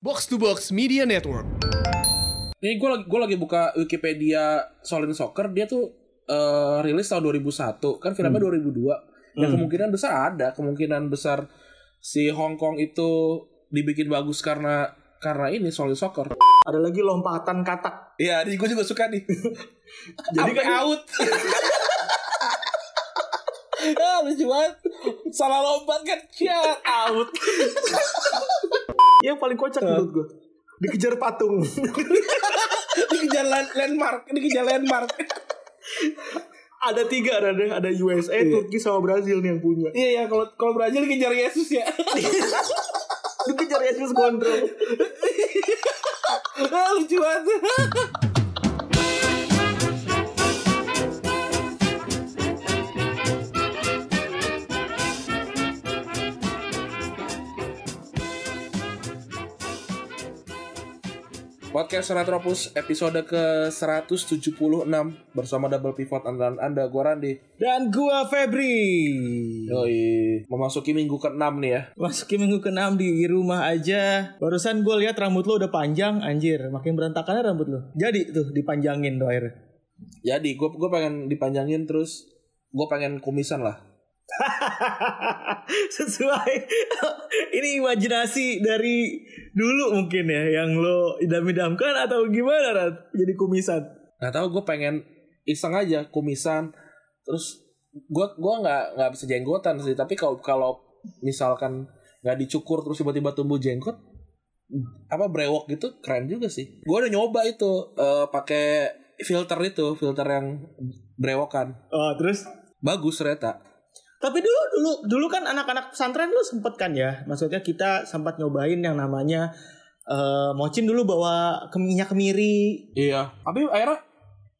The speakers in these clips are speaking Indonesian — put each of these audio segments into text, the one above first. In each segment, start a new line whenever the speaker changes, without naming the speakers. Box to Box Media Network.
Nih gue lagi, gua lagi buka Wikipedia Solin Soccer dia tuh eh, rilis tahun 2001 kan filmnya 2002 dan Ya, kemungkinan besar ada kemungkinan besar si Hong Kong itu dibikin bagus karena karena ini Solin Soccer.
Ada lagi lompatan katak.
Iya, gue juga suka nih. Jadi
Sampai
out. ah, lucu banget. Salah lompat kan, ya out.
Yang paling
Eh.
kocak menurut gue. Dikejar patung.
Dikejar land- landmark, dikejar landmark.
ada tiga ada deh. ada USA,
Iya.
Turki sama Brazil nih yang punya.
Iya ya, kalau kalau Brazil dikejar Yesus ya.
Dikejar Yesus kontrol.
Ah, lucu banget. Podcast Retropus episode ke-176 bersama double pivot andalan Anda gua Randi.
Dan gua Febri.
Yoi, memasuki minggu ke-6 nih ya.
Masukin minggu ke-6 di rumah aja. Barusan gue lihat rambut lo udah panjang, anjir. Makin berantakannya rambut lo. Jadi tuh dipanjangin tuh akhirnya.
Jadi gue gue pengen dipanjangin terus gue pengen kumisan lah.
Sesuai. Ini imajinasi dari dulu mungkin ya yang lo idam-idamkan atau gimana, Rat? Jadi kumisan.
nggak tahu gue pengen iseng aja kumisan terus gue gua nggak nggak bisa jenggotan sih tapi kalau kalau misalkan nggak dicukur terus tiba-tiba tumbuh jenggot apa brewok gitu keren juga sih gue udah nyoba itu eh, pakai filter itu filter yang brewokan
Oh, terus
bagus ternyata
Tapi dulu dulu dulu kan anak-anak pesantren lu sempet kan ya. Maksudnya kita sempat nyobain yang namanya eh, mocin dulu bawa ke- minyak kemiri.
iya tapi akhirnya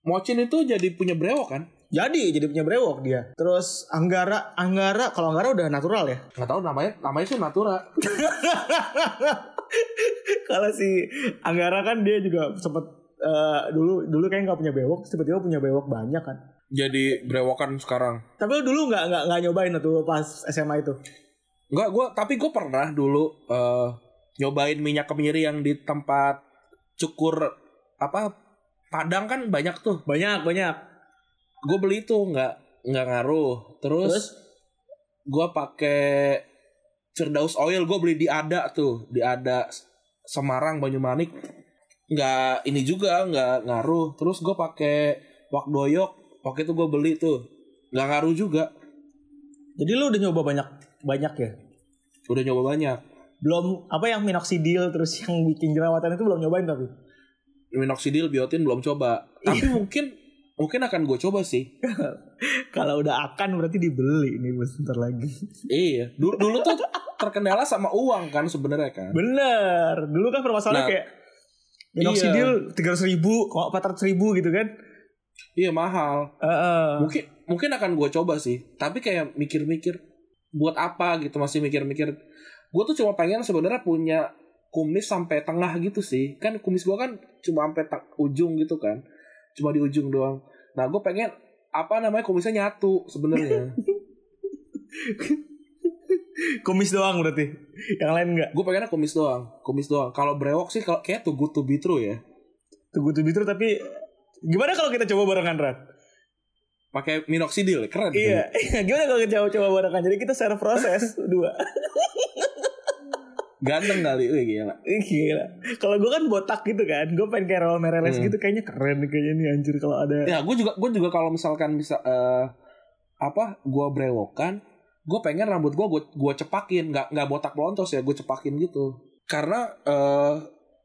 mocin itu jadi punya brewok kan
Jadi jadi punya brewok dia. Terus Anggara, Anggara kalau Anggara udah natural ya.
nggak tahu namanya namanya sih natura
kalau si Anggara kan dia juga sempet eh, dulu dulu kayak nggak punya bewok, tiba-tiba punya bewok banyak kan.
jadi brewokan sekarang
Tapi lu dulu nggak nggak nggak nyobain tuh pas SMA itu.
Enggak, gua tapi gue pernah dulu eh, nyobain minyak kemiri yang di tempat cukur apa Padang kan banyak tuh.
Banyak banyak.
Gue beli itu nggak nggak ngaruh.
Terus?
Terus, gua pakai Firdaus Oil gue beli di Ada tuh, di Ada Semarang Banyumanik. Nggak ini juga nggak ngaruh. Terus gue pakai Wak Doyok. Waktu itu gue beli tuh. Nggak ngaruh juga.
Jadi lu udah nyoba banyak banyak ya.
Udah nyoba banyak.
Belum apa yang minoxidil terus yang bikin jerawatan itu belum nyobain tapi.
minoxidil biotin belum coba tapi mungkin mungkin akan gue coba sih
Kalau udah akan berarti dibeli nih bos bentar lagi.
iya dulu, dulu tuh terkendala sama uang kan sebenarnya kan
Bener. Dulu kan
Nah,
permasalahan kayak iya. minoxidil tiga ribu, kok empat ribu gitu kan?
iya mahal
Heeh.
mungkin mungkin akan gue coba sih tapi kayak mikir-mikir buat apa gitu masih mikir-mikir gue tuh cuma pengen sebenarnya punya kumis sampai tengah gitu sih kan kumis gue kan cuma sampai teng- ujung gitu kan cuma di ujung doang nah gue pengen apa namanya kumisnya nyatu sebenarnya
Kumis doang berarti. Yang lain enggak.
gue pengennya kumis doang kumis doang kalau brewok sih kalau kayak tuh good to be true ya
Tunggu tuh bitru tapi gimana kalau kita coba barengan Rat?
pakai minoxidil keren
Iya, gimana kalau kita coba barengan? Jadi kita share proses dua.
ganteng kali wih gila
Ih, Gila. Kalau gue kan botak gitu kan, gue pengen kayak Raul Mereles
Hmm.
gitu kayaknya keren nih, kayaknya nih anjir kalau ada.
ya gue juga gue juga kalau misalkan bisa eh, apa gue brewokan gue pengen rambut gue gue cepakin nggak nggak botak lontos ya gue cepakin gitu karena eh,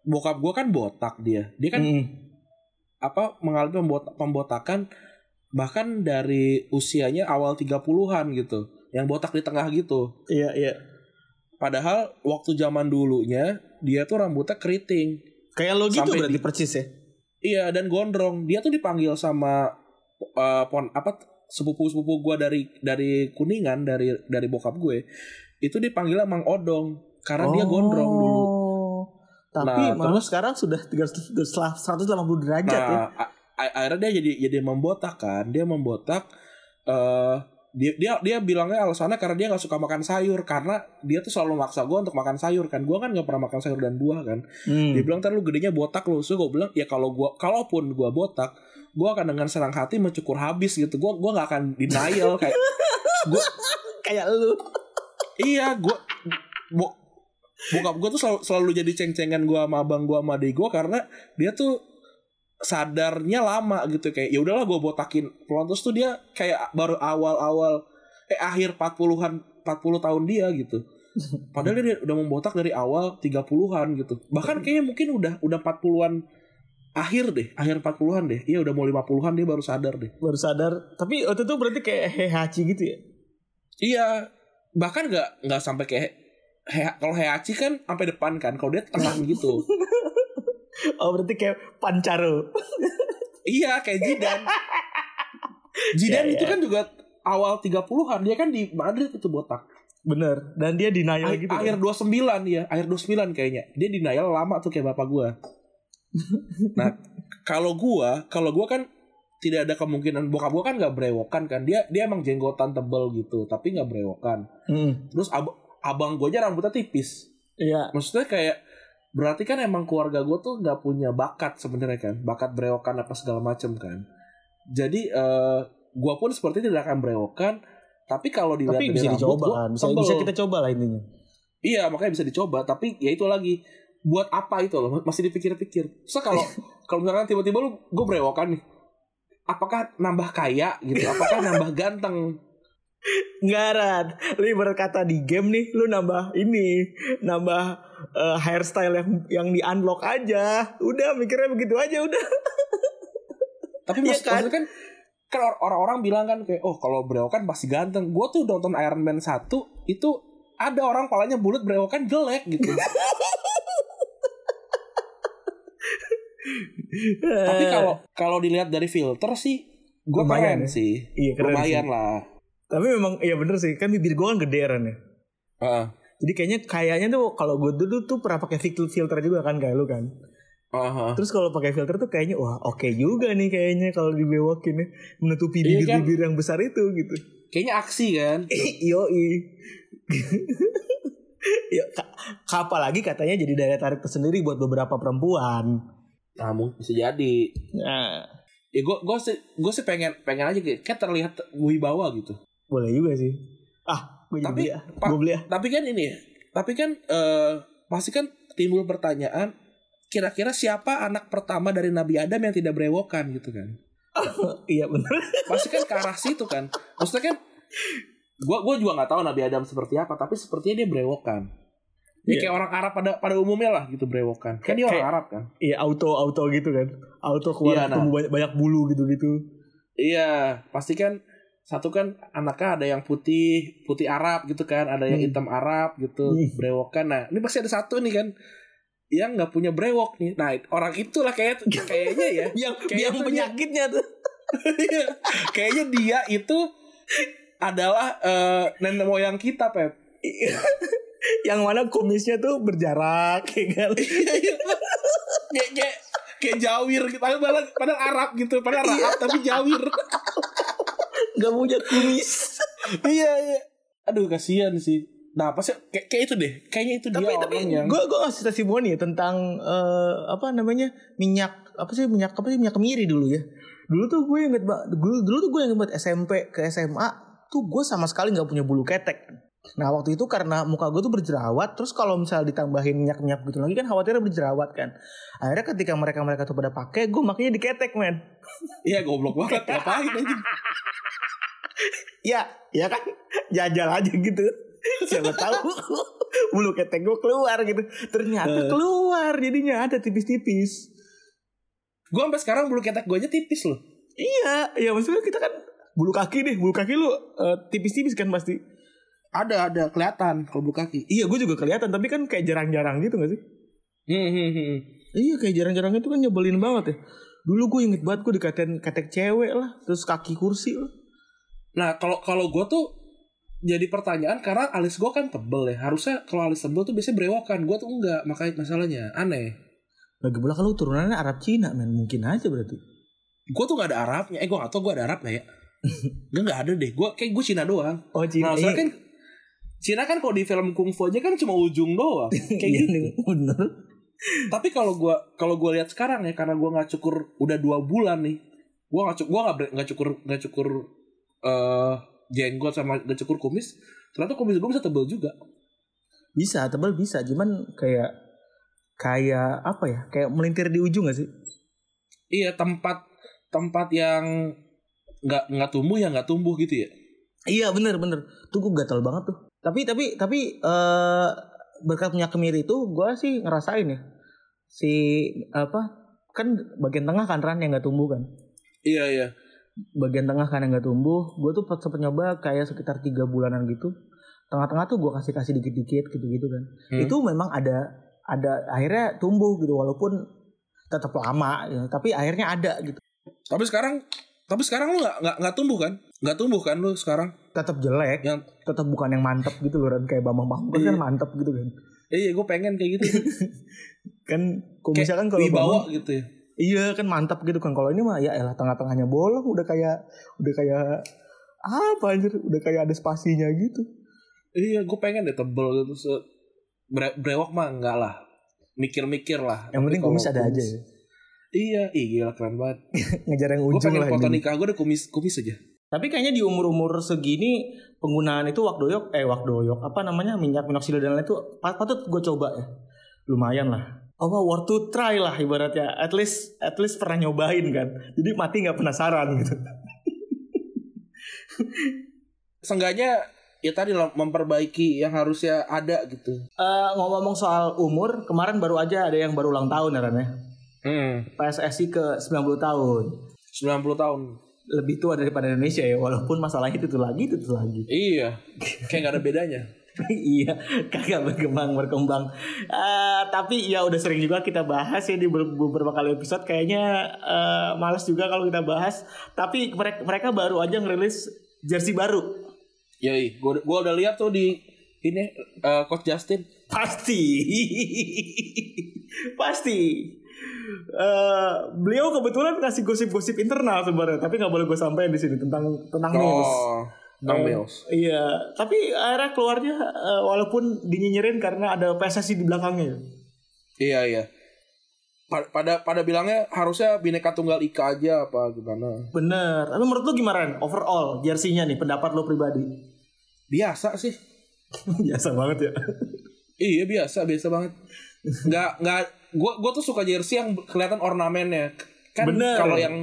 bokap gue kan botak dia dia kan
Mm.
apa mengalami pembot- pembotakan bahkan dari usianya awal 30-an gitu yang botak di tengah gitu
Iya, iya.
padahal waktu zaman dulunya dia tuh rambutnya keriting
Kayak lo gitu
Sampai di-
berarti persis ya.
Iya dan gondrong dia tuh dipanggil sama eh, pon apa sepupu sepupu gue dari dari kuningan dari dari bokap gue itu dipanggil mang odong karena dia gondrong dulu.
Oh. Tapi
Nah,
malah sekarang sudah 300 setelah 180 derajat ya.
Nah a- a- akhirnya dia jadi jadi membotak kan dia membotak eh dia dia dia bilangnya alasannya karena dia nggak suka makan sayur karena dia tuh selalu maksa gue untuk makan sayur kan gue kan nggak pernah makan sayur dan buah kan dia
Hmm.
bilang ntar lu gedenya botak lu so gue bilang ya kalau gua kalaupun gua botak gua akan dengan senang hati mencukur habis gitu gua gua nggak akan denial kayak
kayak lu.
iya gua bo, bokap gua tuh selalu, selalu jadi ceng-cengan gua sama abang gua sama adik gua karena dia tuh sadarnya lama gitu kayak ya udahlah gua botakin pelan terus tuh dia kayak baru awal-awal eh akhir 40-an 40 tahun dia gitu Padahal dia udah membotak dari awal 30-an gitu. Bahkan kayaknya mungkin udah udah 40-an akhir deh, akhir 40-an deh. Iya udah mau 50-an dia baru sadar deh.
Baru sadar. Tapi waktu itu berarti kayak hehaci gitu ya.
Iya, bahkan nggak nggak sampai kayak He- kalau Heihachi kan sampai depan kan, kalau dia tengah gitu.
Oh berarti kayak pancaro.
iya, kayak Jidan. Jidan
Ya,
itu
ya.
kan juga awal 30-an, dia kan di Madrid itu botak.
Bener. Dan dia denial
Akhir,
gitu.
akhir 29 ya, akhir 29 kayaknya. Dia denial lama tuh kayak bapak gua. Nah, kalau gua, kalau gua kan tidak ada kemungkinan bokap gua kan nggak berewokan kan. Dia dia emang jenggotan tebel gitu, tapi nggak berewokan.
Hmm.
Terus ab- abang gua aja rambutnya tipis.
Iya.
Maksudnya kayak berarti kan emang keluarga gua tuh nggak punya bakat sebenarnya kan, bakat berewokan apa segala macem kan. Jadi eh gua pun seperti tidak akan berewokan, tapi kalau dilihat
Tapi
dari
bisa
rambut,
dicoba
gua
kan. Bisa,
tebel.
bisa kita coba lah intinya.
Iya makanya bisa dicoba tapi ya itu lagi buat apa itu loh masih dipikir-pikir. So kalau kalau misalkan tiba-tiba lu gue berewokan nih, apakah nambah kaya gitu? Apakah nambah ganteng?
Nggak, Rad. Lu ibarat kata di game nih, lu nambah ini, nambah eh, hairstyle yang yang di unlock aja. Udah mikirnya begitu aja udah.
Tapi
Iya
mas,
kan?
maksudnya kan kan or- orang-orang bilang kan kayak oh kalau berewokan pasti ganteng. Gue tuh nonton Iron Man 1 itu ada orang palanya bulat berewokan jelek gitu. tapi kalau kalau dilihat dari filter sih gue
Lumayan
keren
ya.
sih.
Iya, keren
Lumayan lah.
tapi memang iya bener sih, kan bibir gua kan gede Ran, ya.
Heeh.
Jadi kayaknya kayaknya tuh kalau gue dulu tuh pernah pakai filter filter juga kan kayak lu kan.
Aha.
Terus kalau pakai filter tuh kayaknya wah oke juga nih kayaknya kalau dibewokin ya menutupi
Iya kan?
bibir-bibir yang besar itu gitu.
Kayaknya aksi kan.
Yoi. ya, ka- apalagi katanya jadi daya tarik tersendiri buat beberapa perempuan.
Nah,
Ah,
mungkin bisa jadi.
Nah,
Ya gue gue sih gue sih pengen pengen aja kayak, kayak terlihat wibawa gitu.
boleh juga sih. Ah, gue
Tapi,
beli ah.
Pak-
Gue beli ah.
Tapi kan ini, tapi kan eh pasti kan timbul pertanyaan kira-kira siapa anak pertama dari Nabi Adam yang tidak berewokan gitu kan?
Iya bener.
Pasti kan ke arah situ kan. Maksudnya kan gue gua juga nggak tahu Nabi Adam seperti apa, tapi sepertinya dia berewokan. Dia
Iya.
kayak orang Arab pada pada umumnya lah gitu berewokan. Kan dia orang
Kayak-
Arab kan?
Iya auto auto gitu kan. Auto keluar
Iya, nah.
tumbuh banyak, banyak bulu gitu-gitu.
Iya, pasti kan satu kan anaknya ada yang putih, putih Arab gitu kan, ada yang
Hmm.
hitam Arab gitu,
Hmm.
brewokan. Nah, ini pasti ada satu nih kan yang nggak punya brewok nih. Nah, orang itulah kayak kayaknya ya.
Yang
Kayak
yang
itu dia.
penyakitnya tuh.
Iya. kayaknya dia itu adalah eh, nenek moyang kita, Pep.
yang mana kumisnya tuh berjarak ya kan.
kayak kayak kayak jawir gitu. Padahal, padahal Arab gitu, padahal
Iya.
Arab tapi jawir.
Gak punya kumis.
iya, iya. Aduh, kasihan sih. Nah, pasti kayak, kayak itu deh. Kayaknya itu
tapi
dia
tapi
orang yang
gue gue ngasih testimoni ya tentang eh, apa namanya minyak apa sih minyak apa sih minyak kemiri dulu ya dulu tuh gue inget ba- dulu dulu tuh gue inget banget SMP ke SMA tuh gue sama sekali nggak punya bulu ketek nah waktu itu karena muka gue tuh berjerawat terus kalau misalnya ditambahin minyak minyak gitu lagi kan khawatirnya berjerawat kan akhirnya ketika mereka mereka tuh pada pakai gue makanya diketek men
Iya goblok banget ngapain aja
ya ya kan jajal aja gitu siapa tahu bulu ketek gue keluar gitu ternyata keluar jadinya ada tipis-tipis
Gue sampai sekarang bulu ketek gue aja tipis loh
Iya, ya maksudnya kita kan bulu kaki deh, bulu kaki lu eh, tipis-tipis kan pasti.
Ada ada kelihatan kalau bulu kaki
Iya, gue juga kelihatan, tapi kan kayak jarang-jarang gitu gak sih?
hmm, hmm, hmm.
Iya, kayak jarang-jarang itu kan nyebelin banget ya. Dulu gue inget banget gue dikatain ketek cewek lah, terus kaki kursi lah.
Nah kalau kalau gue tuh jadi pertanyaan karena alis gue kan tebel ya harusnya kalau alis tebel tuh biasanya berewokan gue tuh enggak makanya masalahnya aneh
Lagi pula kalau turunannya Arab Cina men, mungkin aja berarti.
gue tuh nggak ada Arabnya eh gue nggak tau gue ada Arabnya ya Enggak nggak ada deh. Gua kayak gue Cina doang.
Oh
Nah,
Cina.
soalnya kan Cina kan kalau di film kungfu aja kan cuma ujung doang. Kayak
Iya,
gitu.
Bener.
Tapi kalau gua kalau gua lihat sekarang ya karena gua nggak cukur udah dua bulan nih. Gua nggak cukur gua nggak ber- nggak cukur nggak cukur eh jenggot sama nggak cukur kumis. Ternyata kumis gua bisa tebel juga.
Bisa, tebal bisa. Cuman kayak kayak apa ya? Kayak melintir di ujung gak sih?
Iya tempat tempat yang nggak nggak tumbuh ya nggak tumbuh gitu ya.
Iya bener bener. Tuh gue gatal banget tuh. Tapi tapi tapi eh berkat punya kemiri itu gue sih ngerasain ya. Si apa kan bagian tengah kan ran yang nggak tumbuh kan.
Iya iya.
Bagian tengah kan yang nggak tumbuh. Gue tuh pas sempet nyoba kayak sekitar tiga bulanan gitu. Tengah-tengah tuh gue kasih kasih dikit-dikit gitu-gitu kan.
Hmm.
Itu memang ada ada akhirnya tumbuh gitu walaupun tetap lama ya. tapi akhirnya ada gitu.
Tapi sekarang tapi sekarang lu nggak nggak nggak tumbuh kan? Nggak tumbuh kan lu sekarang?
Tetap jelek,
Yang-
tetap bukan yang mantep gitu loh Ran. kayak Bambang Pamungkas kan mantep gitu kan.
Eh, iya gue pengen kayak gitu.
Kan kalau
Kayak
misalkan kalau Bambang-
Wibawa gitu ya.
Iya kan mantap gitu kan kalau ini mah ya elah tengah-tengahnya bolong udah kayak udah kayak apa anjir udah kayak ada spasinya gitu.
Iya, gue pengen deh tebel gitu. Se bre- brewok mah enggak lah. Mikir-mikir lah.
Yang
Tapi
penting
kalau
kumis ada aja ya.
Iya, iya gila keren banget.
Ngejar yang
Gue
ujung
pengen
lah.
foto
ini.
nikah gue udah kumis kumis aja.
Tapi kayaknya di umur-umur segini penggunaan itu wakdoyok eh wakdoyok apa namanya minyak minoxidil dan lain itu pat- patut gue coba ya. Lumayan lah. Apa worth to try lah ibaratnya. At least at least pernah nyobain kan. Jadi mati nggak penasaran gitu.
Seenggaknya ya tadi lah memperbaiki yang harusnya ada gitu.
Eh, ngomong-ngomong soal umur, kemarin baru aja ada yang baru ulang tahun ya Ran ya.
Hmm.
PSSI ke 90 tahun
90 tahun.
lebih tua daripada Indonesia ya walaupun masalahnya itu tuh lagi itu tuh lagi
Iya. Kayak gak ada bedanya.
iya kagak berkembang berkembang Eh, tapi ya udah sering juga kita bahas ya di ber- beberapa kali episode kayaknya eh, males juga kalau kita bahas tapi mereka mereka baru aja ngerilis jersey baru
Yoi, gue Ya, gua udah lihat tuh di ini eh, coach Justin.
pasti pasti Eh, beliau kebetulan kasih gosip-gosip internal sebenarnya tapi nggak boleh gue sampaikan di sini tentang tentang Mills.
Bang
Eh,
Mills.
Iya, tapi akhirnya keluarnya eh, walaupun dinyinyirin karena ada PSSI di belakangnya.
Iya, iya. Pa- Pada pada bilangnya harusnya bineka tunggal ika aja apa gimana?
Bener. Tapi menurut lu gimana Ren? Overall jersinya nih pendapat lu pribadi.
biasa sih
Biasa banget ya.
iya biasa biasa banget nggak nggak gue gue tuh suka jersey yang kelihatan ornamennya kan
Bener.
kalau yang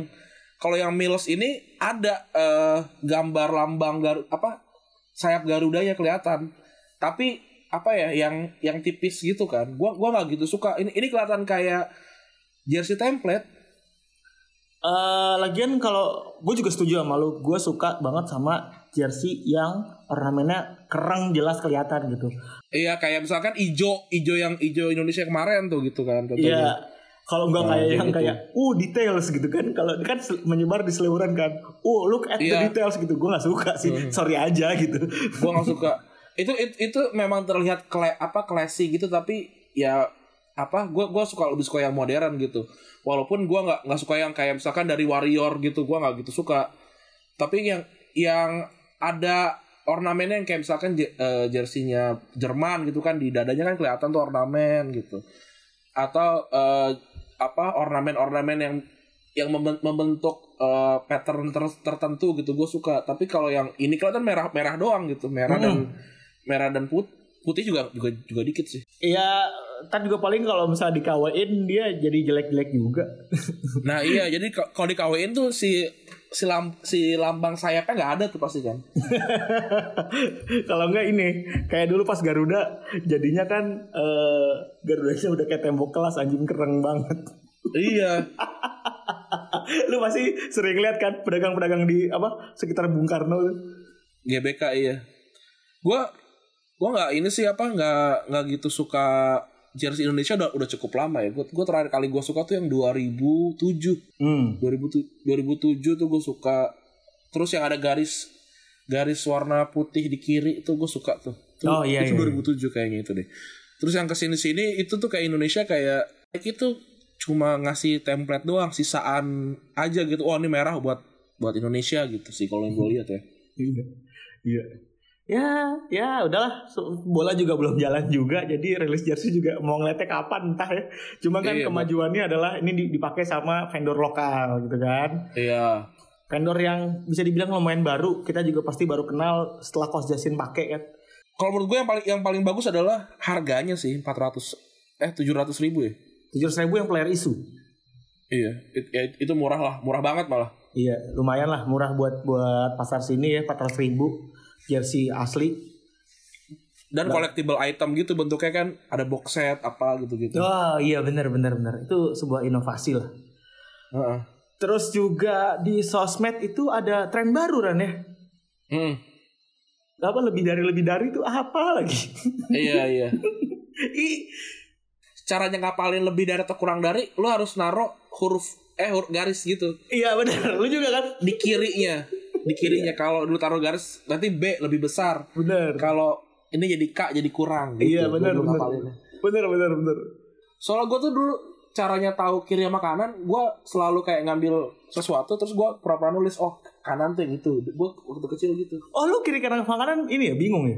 kalau yang Milos ini ada eh, gambar lambang garu apa sayap garudanya kelihatan tapi apa ya yang yang tipis gitu kan gua gua nggak gitu suka ini ini kelihatan kayak jersey template
Eh, lagian kalau gue juga setuju sama lu, gue suka banget sama jersey yang ornamennya kereng jelas kelihatan gitu.
iya kayak misalkan ijo ijo yang ijo Indonesia kemarin tuh gitu kan
Iya.
contohnya.
Kalau nggak
Nah,
Ya, kayak
kayak
yang
gitu.
kayak, uh details gitu kan, kalau kan sel- menyebar di seliweran kan, uh look at the
Iya.
details gitu, gue nggak suka sih, sorry aja gitu.
gue nggak suka itu, itu itu memang terlihat kle, apa classy gitu tapi ya apa gue gua suka lebih suka yang modern gitu walaupun gue nggak nggak suka yang kayak misalkan dari warrior gitu gue nggak gitu suka tapi yang yang ada ornamennya yang kayak misalkan je- eh, jersinya Jerman gitu kan di dadanya kan kelihatan tuh ornamen gitu atau eh, apa ornamen-ornamen yang yang memben- membentuk eh, pattern ter- tertentu gitu gue suka tapi kalau yang ini kelihatan merah merah doang gitu merah dan merah dan put- putih juga juga juga dikit sih
Iya, kan juga paling kalau misalnya dikawain dia jadi jelek-jelek juga.
nah iya jadi ka- kalau di KWN tuh si si, lam- si lambang sayapnya nggak ada tuh pasti kan
kalau enggak ini, kayak dulu pas Garuda jadinya kan eh Garudanya udah kayak tembok kelas anjing kereng banget.
iya
Lu pasti sering lihat kan pedagang-pedagang di apa sekitar Bung Karno tuh.
GBK iya gua gua nggak ini sih apa nggak nggak gitu suka jersey Indonesia udah udah cukup lama ya gua gua terakhir kali gua suka tuh yang 2007
Hmm.
2007 2007 tuh gue suka terus yang ada garis garis warna putih di kiri itu gue suka tuh Itu-
Oh, iya,
itu
iya.
2007 kayaknya itu deh terus yang kesini sini itu tuh kayak Indonesia kayak kayak itu cuma ngasih template doang sisaan aja gitu oh ini merah buat buat Indonesia gitu sih kalau yang gue lihat ya.
Iya. Iya.
Ya,
Ya udahlah, so- bola juga belum jalan juga, jadi rilis jersey juga mau ngeletek kapan entah ya. Cuma kan
Iya,
kemajuannya adalah ini di- dipakai sama vendor lokal gitu kan.
Iya.
Vendor yang bisa dibilang lumayan baru, kita juga pasti baru kenal setelah Kos Jasin pakai kan.
Kalau menurut gue yang paling yang paling bagus adalah harganya sih 400 eh 700 ribu ya.
Tujuh ribu yang player isu.
Iya, it- ya, itu murah lah, murah banget malah.
Iya, lumayan lah murah buat buat pasar sini ya, 400 ribu jersey asli.
Dan
Nah.
collectible item gitu bentuknya kan ada box set apa gitu-gitu.
Oh iya benar benar benar. Itu sebuah inovasi lah.
Heeh.
Terus juga di sosmed itu ada tren baru Ran ya.
Hmm.
Apa lebih dari lebih dari itu apa lagi?
Iya, iya.
Ih,
Caranya ngapalin lebih dari atau kurang dari, lu harus naro huruf eh huruf garis gitu
iya benar. Lu juga kan?
di kirinya. Di
Iya.
kirinya kalau lu taruh garis nanti B lebih besar.
Benar.
Kalau ini jadi K jadi kurang gitu.
Iya
Lu-
benar
lu
benar.
ngapalinnya.
Benar benar benar.
Soalnya gue tuh dulu caranya tahu kiri sama kanan, gue selalu kayak ngambil sesuatu terus gue pura-pura nulis oh kanan tuh yang itu. Gue waktu kecil gitu.
Oh lu kiri kanan makanan ini ya bingung ya.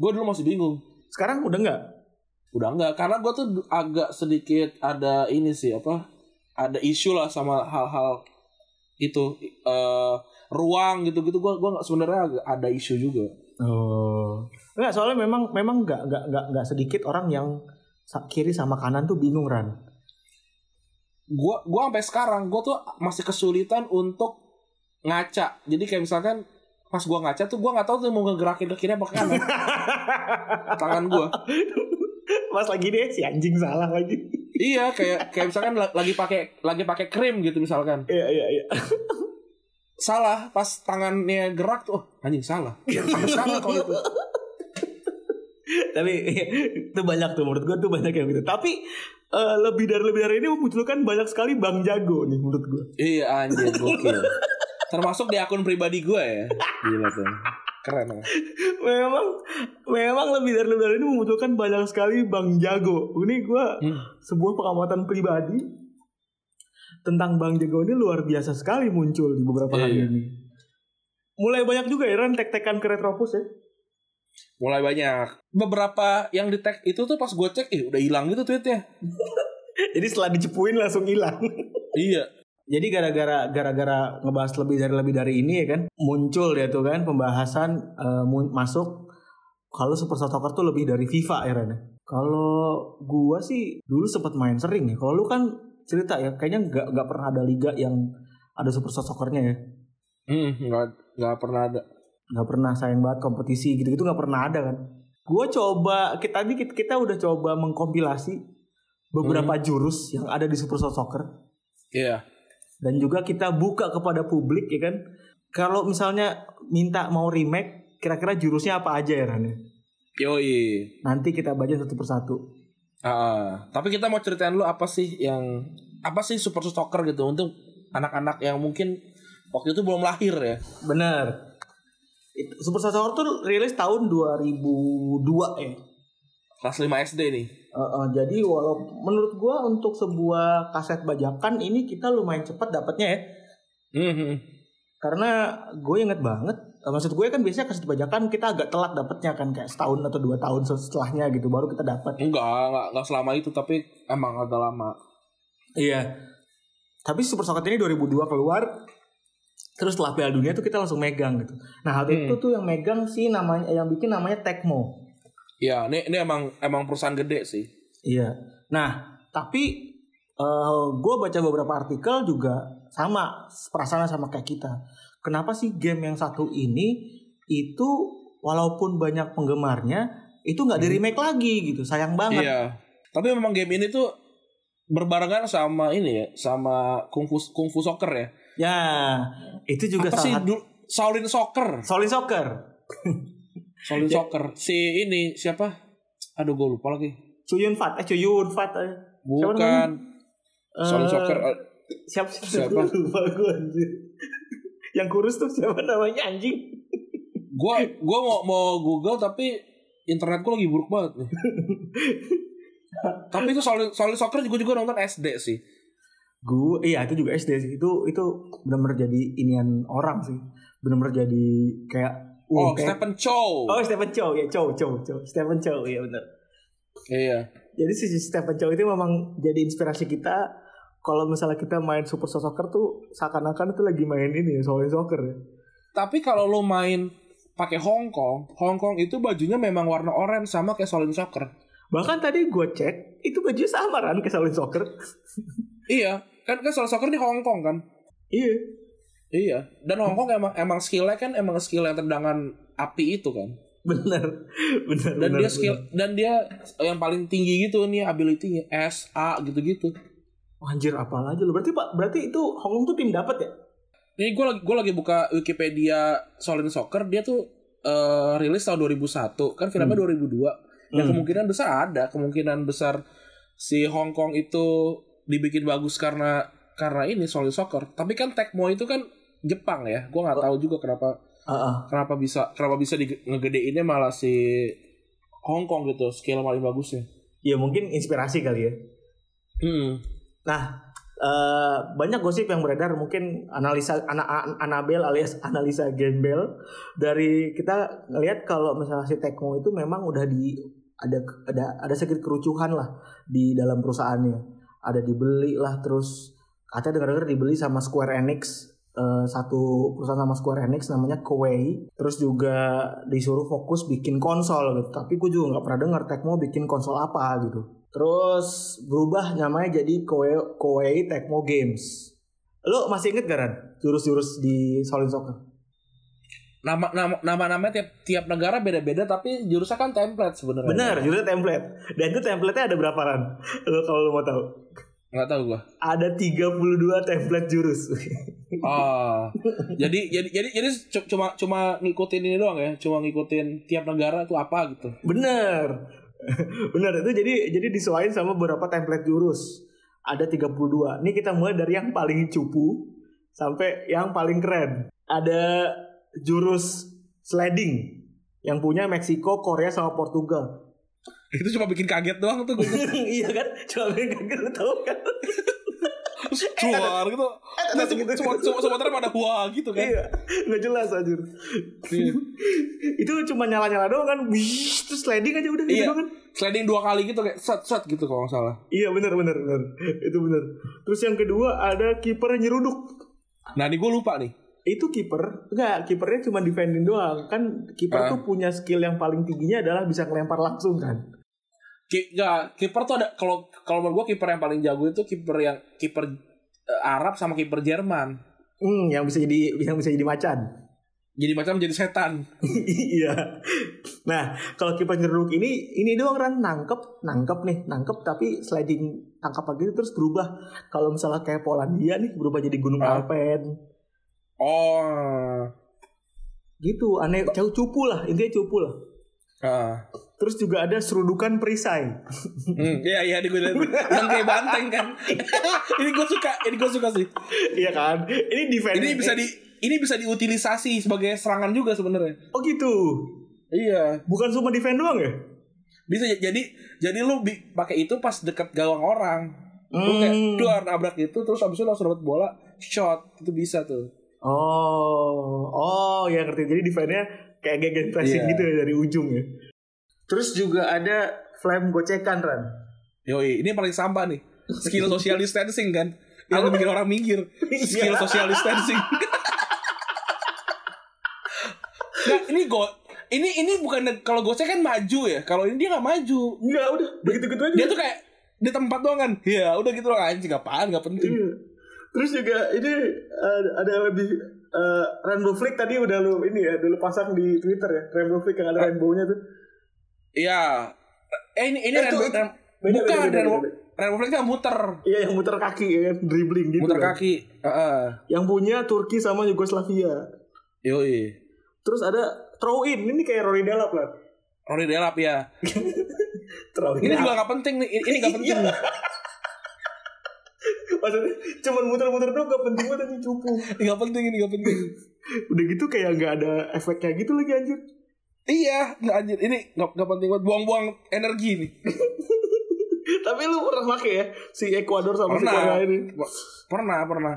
Gue dulu masih bingung.
Sekarang udah enggak?
Udah enggak karena gue tuh du- agak sedikit ada ini sih apa? Ada isu lah sama hal-hal itu eh ruang gitu-gitu gue gua nggak sebenarnya agak ada isu juga.
Oh. Enggak, soalnya memang memang enggak enggak enggak, enggak sedikit orang yang sa- kiri sama kanan tuh bingung Ran.
gua gua sampai sekarang gua tuh masih kesulitan untuk ngaca jadi kayak misalkan pas gua ngaca tuh gua nggak tahu tuh mau ngegerakin ke kiri apa ke kanan tangan gua
Pas lagi deh si anjing salah lagi.
iya kayak kayak misalkan la- lagi pakai lagi pakai krim gitu misalkan
Iya iya iya.
salah pas tangannya gerak tuh oh, anjing salah Sampai sekarang kalau itu
Tapi itu banyak tuh menurut gue tuh banyak yang gitu. Tapi eh, lebih dari lebih dari ini memunculkan banyak sekali bang jago nih menurut gue.
iya anjing gokil termasuk di akun pribadi gua ya gila tuh keren ya.
Memang memang lebih dari lebih dari ini memunculkan banyak sekali bang jago. Ini gue
Hmm.
sebuah pengamatan pribadi tentang bang jago ini luar biasa sekali muncul di beberapa
Iya,
hari
iya.
ini. Mulai banyak juga ya Ran tek-tekan ke Retropus ya.
mulai banyak beberapa yang di tag itu tuh pas gua cek ih udah hilang gitu tweetnya
Jadi setelah dicepuin langsung hilang.
iya
Jadi gara-gara gara-gara ngebahas lebih dari lebih dari ini ya kan muncul ya tuh kan pembahasan eh, mun- masuk kalau Super Soccer tuh lebih dari FIFA ya Ren. Kalau gua sih dulu sempat main sering ya. Kalau lu kan cerita ya kayaknya nggak nggak pernah ada liga yang ada Super Soccernya ya.
Hmm, nggak nggak pernah ada.
nggak pernah sayang banget kompetisi gitu-gitu nggak pernah ada kan gue coba kita tadi kita, kita udah coba mengkompilasi beberapa jurus yang ada di Super Soul Soccer
Iya.
dan juga kita buka kepada publik ya kan kalau misalnya minta mau remake kira-kira jurusnya apa aja ya Rani
Yoi.
nanti kita baca satu persatu
Ah, ah. tapi kita mau ceritain lu apa sih yang apa sih super stalker gitu untuk anak-anak yang mungkin waktu itu belum lahir ya.
bener Itu- Super Soul Soccer tuh rilis tahun 2002 ya
Kelas 5 SD nih.
Uh, uh, jadi walau menurut gua untuk sebuah kaset bajakan ini kita lumayan cepat dapatnya ya
Mhm.
karena gue inget banget eh, maksud gue kan biasanya kasih bajakan kita agak telat dapatnya kan kayak setahun atau dua tahun setelahnya gitu baru kita dapat
Enggak, enggak, enggak selama itu tapi emang agak lama.
iya tapi Super Soccer ini 2002 keluar terus setelah Piala Dunia tuh kita langsung megang gitu nah hal itu tuh yang megang sih namanya yang bikin namanya Tecmo
Iya, ini ini emang emang perusahaan gede sih.
iya nah tapi eh, gue baca beberapa artikel juga sama perasaannya sama kayak kita kenapa sih game yang satu ini itu walaupun banyak penggemarnya itu nggak di remake lagi gitu sayang banget
Iya. Tapi memang game ini tuh berbarengan sama ini ya, sama kungfu kungfu soccer ya.
ya itu juga
Apa sih
salah satu
du- Shaolin soccer?
Solid Soccer
Shaolin soccer. Si ini siapa? Aduh, gue lupa lagi.
Cuyun Fat eh Cuyun Fat eh. Siapa namanya?
Bukan. Shaolin
Eh,
soccer. eh,
siapa siapa,
Siapa?
lupa gue anjir yang kurus tuh siapa namanya anjing
Gua gua mau mau Google tapi internet gua lagi buruk banget nih. tapi itu Shaolin, Shaolin soccer juga juga nonton SD sih.
Gue iya itu juga SD sih. Itu itu benar-benar jadi inian orang sih. Benar-benar jadi kayak
Oh,
wah, kayak-
Stephen Chow.
Oh, Stephen Chow ya, Chow, Chow, Chow. Stephen Chow ya benar.
Iya.
Jadi si Stephen Chow itu memang jadi inspirasi kita kalau misalnya kita main Super Soccer tuh seakan-akan itu lagi main ini soalnya soccer ya.
Tapi kalau lo main pakai Hong Kong, Hong Kong itu bajunya memang warna orange sama kayak Solin Soccer.
Bahkan tadi gue cek itu bajunya sama kan ke Shaolin Soccer.
Iya, kan kan Solin Soccer di Hong Kong kan.
iya.
Iya. Dan Hong Kong emang emang skillnya kan emang skill yang tendangan api itu kan.
Benar. Benar.
Dan
benar,
dia skill dan dia yang paling tinggi gitu nih ability-nya S A gitu-gitu.
benar. Oh, Anjir apal aja lu. Berarti Pak, berarti itu Hongkong tuh tim dapat ya?
Ini gue lagi gue lagi buka Wikipedia Solin Soccer dia tuh eh, rilis tahun 2001 kan filmnya 2002 dan Ya,
Hmm.
kemungkinan besar ada kemungkinan besar si Hong Kong itu dibikin bagus karena karena ini Solin Soccer tapi kan Tecmo itu kan Jepang ya gue nggak tahu juga kenapa
Heeh.
kenapa bisa kenapa bisa di, ngegedeinnya malah si Hong Kong gitu skill paling bagusnya
Ya mungkin inspirasi kali ya.
Hmm.
Nah, eh, banyak gosip yang beredar mungkin analisa ana, an- Anabel alias analisa gembel dari kita ngelihat kalau misalnya si Tekmo itu memang udah di ada ada ada sedikit kerucuhan lah di dalam perusahaannya. Ada dibeli lah terus katanya dengar-dengar dibeli sama Square Enix eh, satu perusahaan sama Square Enix namanya Koei terus juga disuruh fokus bikin konsol gitu tapi gue juga nggak pernah dengar Tecmo bikin konsol apa gitu Terus berubah namanya jadi Koei, Koei Tecmo Games. Lo masih inget gak Ran? Jurus-jurus di Solid Soccer?
nama nama nama namanya tiap tiap negara beda-beda tapi jurusnya kan template sebenarnya
Benar, jurusnya template. Dan itu template-nya ada berapa Ran? Lo kalau lo mau tahu.
nggak tahu gue
Ada 32 template jurus.
Ah, jadi jadi jadi jadi cu- cuma cuma ngikutin ini doang ya, cuma ngikutin tiap negara tuh apa gitu.
Bener. Bener, itu jadi jadi disuain sama beberapa template jurus. Ada 32. Ini kita mulai dari yang paling cupu sampai yang paling keren. Ada jurus sliding yang punya Meksiko, Korea sama Portugal.
Itu cuma bikin kaget doang tuh. Gitu.
iya kan cuma pengen kaget lu tau kan
Cuar gitu. Nah,
gitu,
semua
gitu.
semua semua sebentar pada wah gitu kan.
iya nggak jelas anjir itu cuma nyala nyala doang kan Wih, terus sliding aja udah gitu
Iya.
doang kan
Sliding dua kali gitu kayak set set gitu kalau nggak salah.
iya benar benar benar itu benar terus yang kedua ada kiper nyeruduk
Nah, ini gue lupa nih.
itu kiper enggak kipernya cuma defending doang kan kiper
Ah.
tuh punya skill yang paling tingginya adalah bisa ngelempar langsung kan
Ki, nggak, kiper tuh ada kalau kalau menurut gue kiper yang paling jago itu kiper yang kiper eh, Arab sama kiper Jerman.
hmm, yang bisa jadi yang bisa jadi macan
Jadi macam jadi setan.
iya. Nah, kalau kipas nyeruduk ini ini doang kan nangkep, nangkep nih, nangkep tapi sliding tangkap lagi terus berubah. Kalau misalnya kayak Polandia nih berubah jadi gunung
Ah.
Alpen.
Oh.
Gitu, aneh jauh cupu lah, intinya cupu lah.
Ah.
Terus juga ada serudukan perisai.
Hmm, iya iya ini gue liat yang kayak banteng kan. ini gue suka, ini gue suka sih.
iya kan? Ini defense.
Ini bisa di ini bisa diutilisasi sebagai serangan juga sebenarnya.
Oh gitu.
Iya.
Bukan cuma defense doang ya?
Bisa j- jadi jadi lu bi- pakai itu pas deket gawang orang. Lu kayak
Hmm.
duar nabrak itu terus abis itu langsung dapat bola shot itu bisa tuh.
Oh, oh ya ngerti. Jadi defense-nya kayak gegen pressing
Iya.
gitu ya dari ujung ya. Terus juga ada flame gocekan Ran.
Yoi, ini yang paling sampah nih. Skill social distancing kan. Yang bikin orang minggir. Skill
Iya.
social distancing. nah, ini go ini ini bukan kalau gocek kan maju ya. Kalau ini dia nggak maju.
Enggak udah begitu gitu aja.
Dia tuh kayak di tempat doang kan. Ya udah gitu loh anjing apaan nggak penting.
Iya. Terus juga ini uh, ada lebih uh, rainbow flick tadi udah lu ini ya, udah lu pasang di Twitter ya. Rainbow flick yang ada rainbow-nya tuh.
Iya. Eh ini ini
Eh,
Rainbow-
itu-
Rainbow-
beda,
bukan
beda, beda,
Rainbow-
beda.
Rainbow Flag kan muter.
Iya yang muter kaki ya kan, dribbling gitu.
muter
kan.
kaki. Heeh.
Yang punya Turki sama Yugoslavia.
Yoi.
Terus ada throw in, ini kayak Rory Delap lah.
Rory Delap ya.
Throw in.
Ini juga nggak penting nih. Ini nggak penting.
Iya. Maksudnya cuman muter-muter doang gak penting banget anjing cupu.
Ini nggak penting ini nggak penting.
Udah gitu kayak nggak ada efeknya gitu lagi anjir.
iya, nggak anjir. Ini nggak nggak penting banget. Buang-buang energi nih.
Tapi lu pernah pakai ya si Ekuador sama si
Pernah.
Korea ini.
P- Pernah, pernah.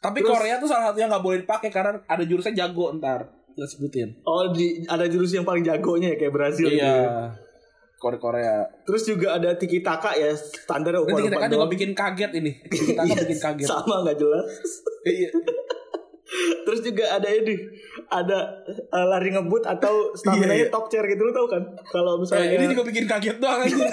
Tapi
Terus-
Korea tuh salah satunya nggak boleh dipakai karena ada jurusnya jago ntar. Kita sebutin.
Oh, di, ada jurus yang paling jagonya ya kayak Brazil gitu ya.
Iya. Korea Korea.
Terus juga ada tiki taka ya standar
Nanti
umpan
kita
umpan
kan juga bikin kaget ini. Kita kan bikin kaget.
sama nggak jelas.
Iya.
Terus juga ada ini, ada eh, lari ngebut atau stamina nya top chair gitu lu tau kan? Kalau misalnya
Iya, ini juga bikin kaget doang aja.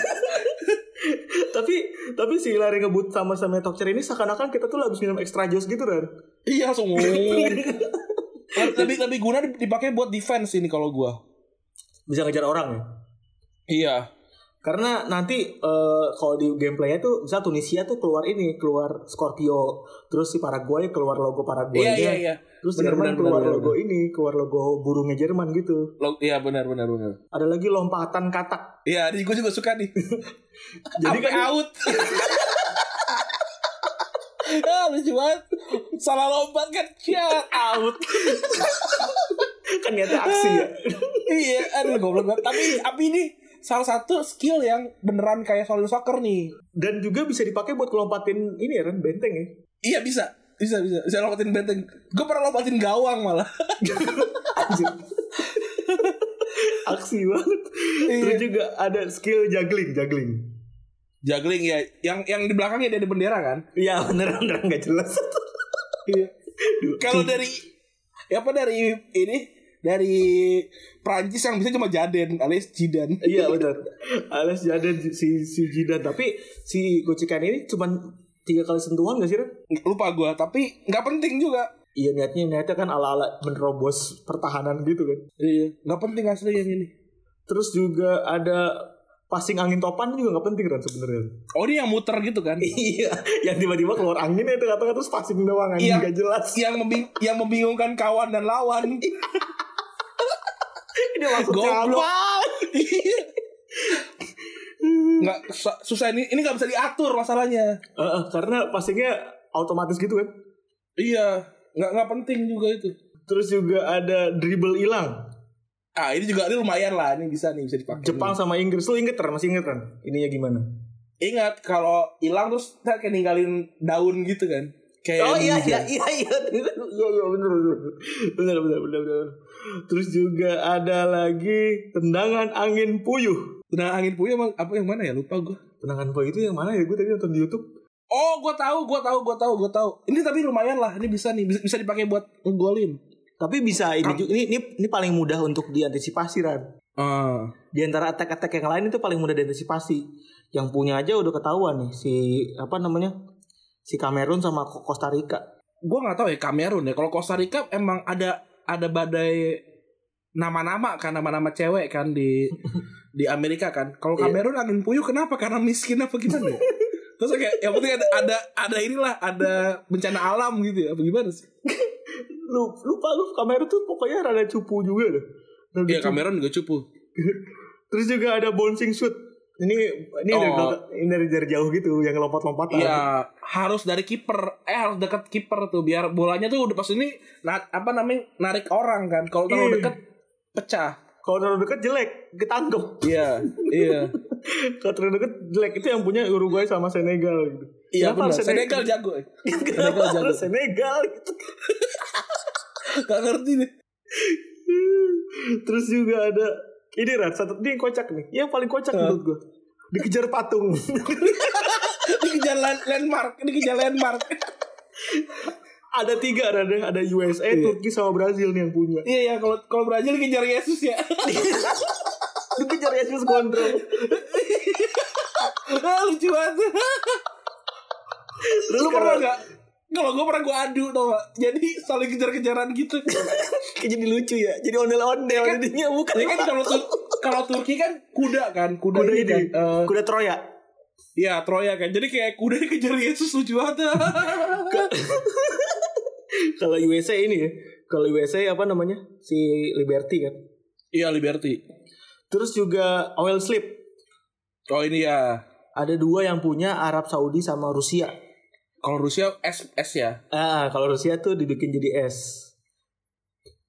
tapi tapi si lari ngebut sama sama top chair ini seakan-akan kita tuh habis minum extra jus gitu kan?
iya langsung. lebih lebih guna dipakai buat defense ini kalau gua.
Bisa ngejar orang ya.
Iya.
Karena nanti eh, kalau di gameplaynya tuh misal Tunisia tuh keluar ini keluar Scorpio, terus si Paraguay keluar logo Paraguay,
Iya iya iya.
terus
Benar,
Jerman
benar,
keluar
benar,
logo ini, keluar logo burungnya Jerman gitu.
Lo- Iya benar benar benar.
Ada lagi lompatan katak.
Iya, ini gua juga suka nih.
Jadi kan,
Sampai out. ah, lucu banget. Salah lompat kan, cia, out.
kan niatnya aksi ya.
iya, aduh goblok banget. Tapi tapi ini salah satu skill yang beneran kayak solid soccer nih.
Dan juga bisa dipakai buat lompatin ini ya kan benteng ya.
Iya bisa, bisa bisa. Bisa lompatin benteng. Gue pernah lompatin gawang malah.
Anjir. aksi banget.
Iya.
Terus juga ada skill juggling, juggling.
Juggling ya, yang yang di belakangnya dia ada bendera kan.
Iya beneran beneran nggak jelas.
Iya. Kalau dari Ya, apa dari ini dari Prancis yang bisa cuma Jaden alias Jidan.
Iya benar. Alias Jaden si si Jidan tapi si Kucikan ini cuman tiga kali sentuhan gak sih Ren?
Lupa gue, tapi nggak penting juga.
Iya niatnya niatnya kan ala ala menerobos pertahanan gitu kan.
Iya, nggak penting asli yang ini.
Terus juga ada passing angin topan juga nggak penting kan sebenarnya.
Oh ini yang muter gitu kan?
Iya, yang tiba-tiba keluar angin itu kata-kata terus passing doang anjing
Iya.
nggak jelas.
yang membing yang membingungkan kawan dan lawan.
Ini maksudnya
Goblok.
apa?
Iya. nggak susah, susah ini ini nggak bisa diatur masalahnya.
Heeh, karena passingnya otomatis gitu kan.
Iya, nggak nggak penting juga itu.
Terus juga ada dribble hilang.
Ah ini juga ini lumayan lah, ini bisa nih bisa dipakai.
Jepang sama Inggris lu inget kan? Masih inget kan? Ininya gimana?
Ingat kalau hilang terus kita kayak ninggalin daun gitu kan? Kayak
Oh iya
ninja.
iya iya iya iya iya benar benar benar benar benar benar. Terus juga ada lagi tendangan angin puyuh.
Nah angin puyuh emang apa yang mana ya lupa gue.
Tendangan puyuh itu yang mana ya? Gue tadi nonton di YouTube.
Oh, gue tahu, gue tahu, gue tahu, gue tahu. Ini tapi lumayan lah, ini bisa nih, bisa, bisa dipakai buat ngegolin.
Tapi bisa ini juga.
ini, ini ini paling mudah untuk diantisipasi Ran.
Ah,
Di antara attack-attack yang lain itu paling mudah diantisipasi. Yang punya aja udah ketahuan nih si apa namanya? Si Kamerun sama Ko- Costa Rica.
gue nggak tahu ya Kamerun ya. Kalau Costa Rica emang ada ada badai nama-nama kan, nama-nama cewek kan di di Amerika kan. Kalau Kamerun angin puyuh kenapa? Karena miskin apa gimana? ya? Terus kayak yang penting ada ada ada inilah ada bencana alam gitu ya. Apa gimana sih?
lu lupa lu kamera tuh pokoknya rada cupu juga deh. Rada
Iya
cupu.
Kamerun juga cupu.
Terus juga ada bouncing shoot. Ini ini dari,
Oh.
belakang- ini dari dari jauh gitu yang lompat-lompatan.
Iya, harus dari kiper. Eh harus deket kiper tuh biar bolanya tuh udah pas ini na- apa namanya narik orang kan. Kalau terlalu
Iya.
deket pecah.
Kalau terlalu dekat jelek, ketangkep.
Iya, iya.
Kalau terlalu dekat jelek itu yang punya Uruguay sama Senegal gitu.
Iya
Kenapa
benar.
harus
Senegal jago. eh.
Kenapa
Senegal jago.
harus Senegal gitu?
Gak ngerti deh.
Terus juga ada ini Rat, satu ini yang kocak nih. Yang paling kocak menurut gua. Dikejar patung.
Dikejar lan- landmark, dikejar landmark.
ada tiga ada ada USA, Turki sama Brazil nih yang punya.
iya ya, kalau kalau Brazil dikejar Yesus ya.
Dikejar Yesus kontrol.
Ah, Lucu banget. Lu pernah
sekarang-
gak? Kalau gue pernah gue adu tau gak? Jadi saling kejar-kejaran gitu.
Kayak jadi lucu ya. Jadi ondel-ondel jadinya bukan.
Ya kan kalau Tur- kalau Turki kan kuda kan, kuda,
Iya kuda
ini
ini,
kan. eh,
kuda Troya.
Iya Troya kan. Jadi kayak kuda dikejar Yesus lucu banget.
Kalau USA ini ya, kalau USA apa namanya? Si Liberty kan.
Iya Liberty.
Terus juga oil slip.
Oh ini ya.
Ada dua yang punya Arab Saudi sama Rusia.
Kalau Rusia S S ya.
Ah, kalau Rusia tuh dibikin jadi es.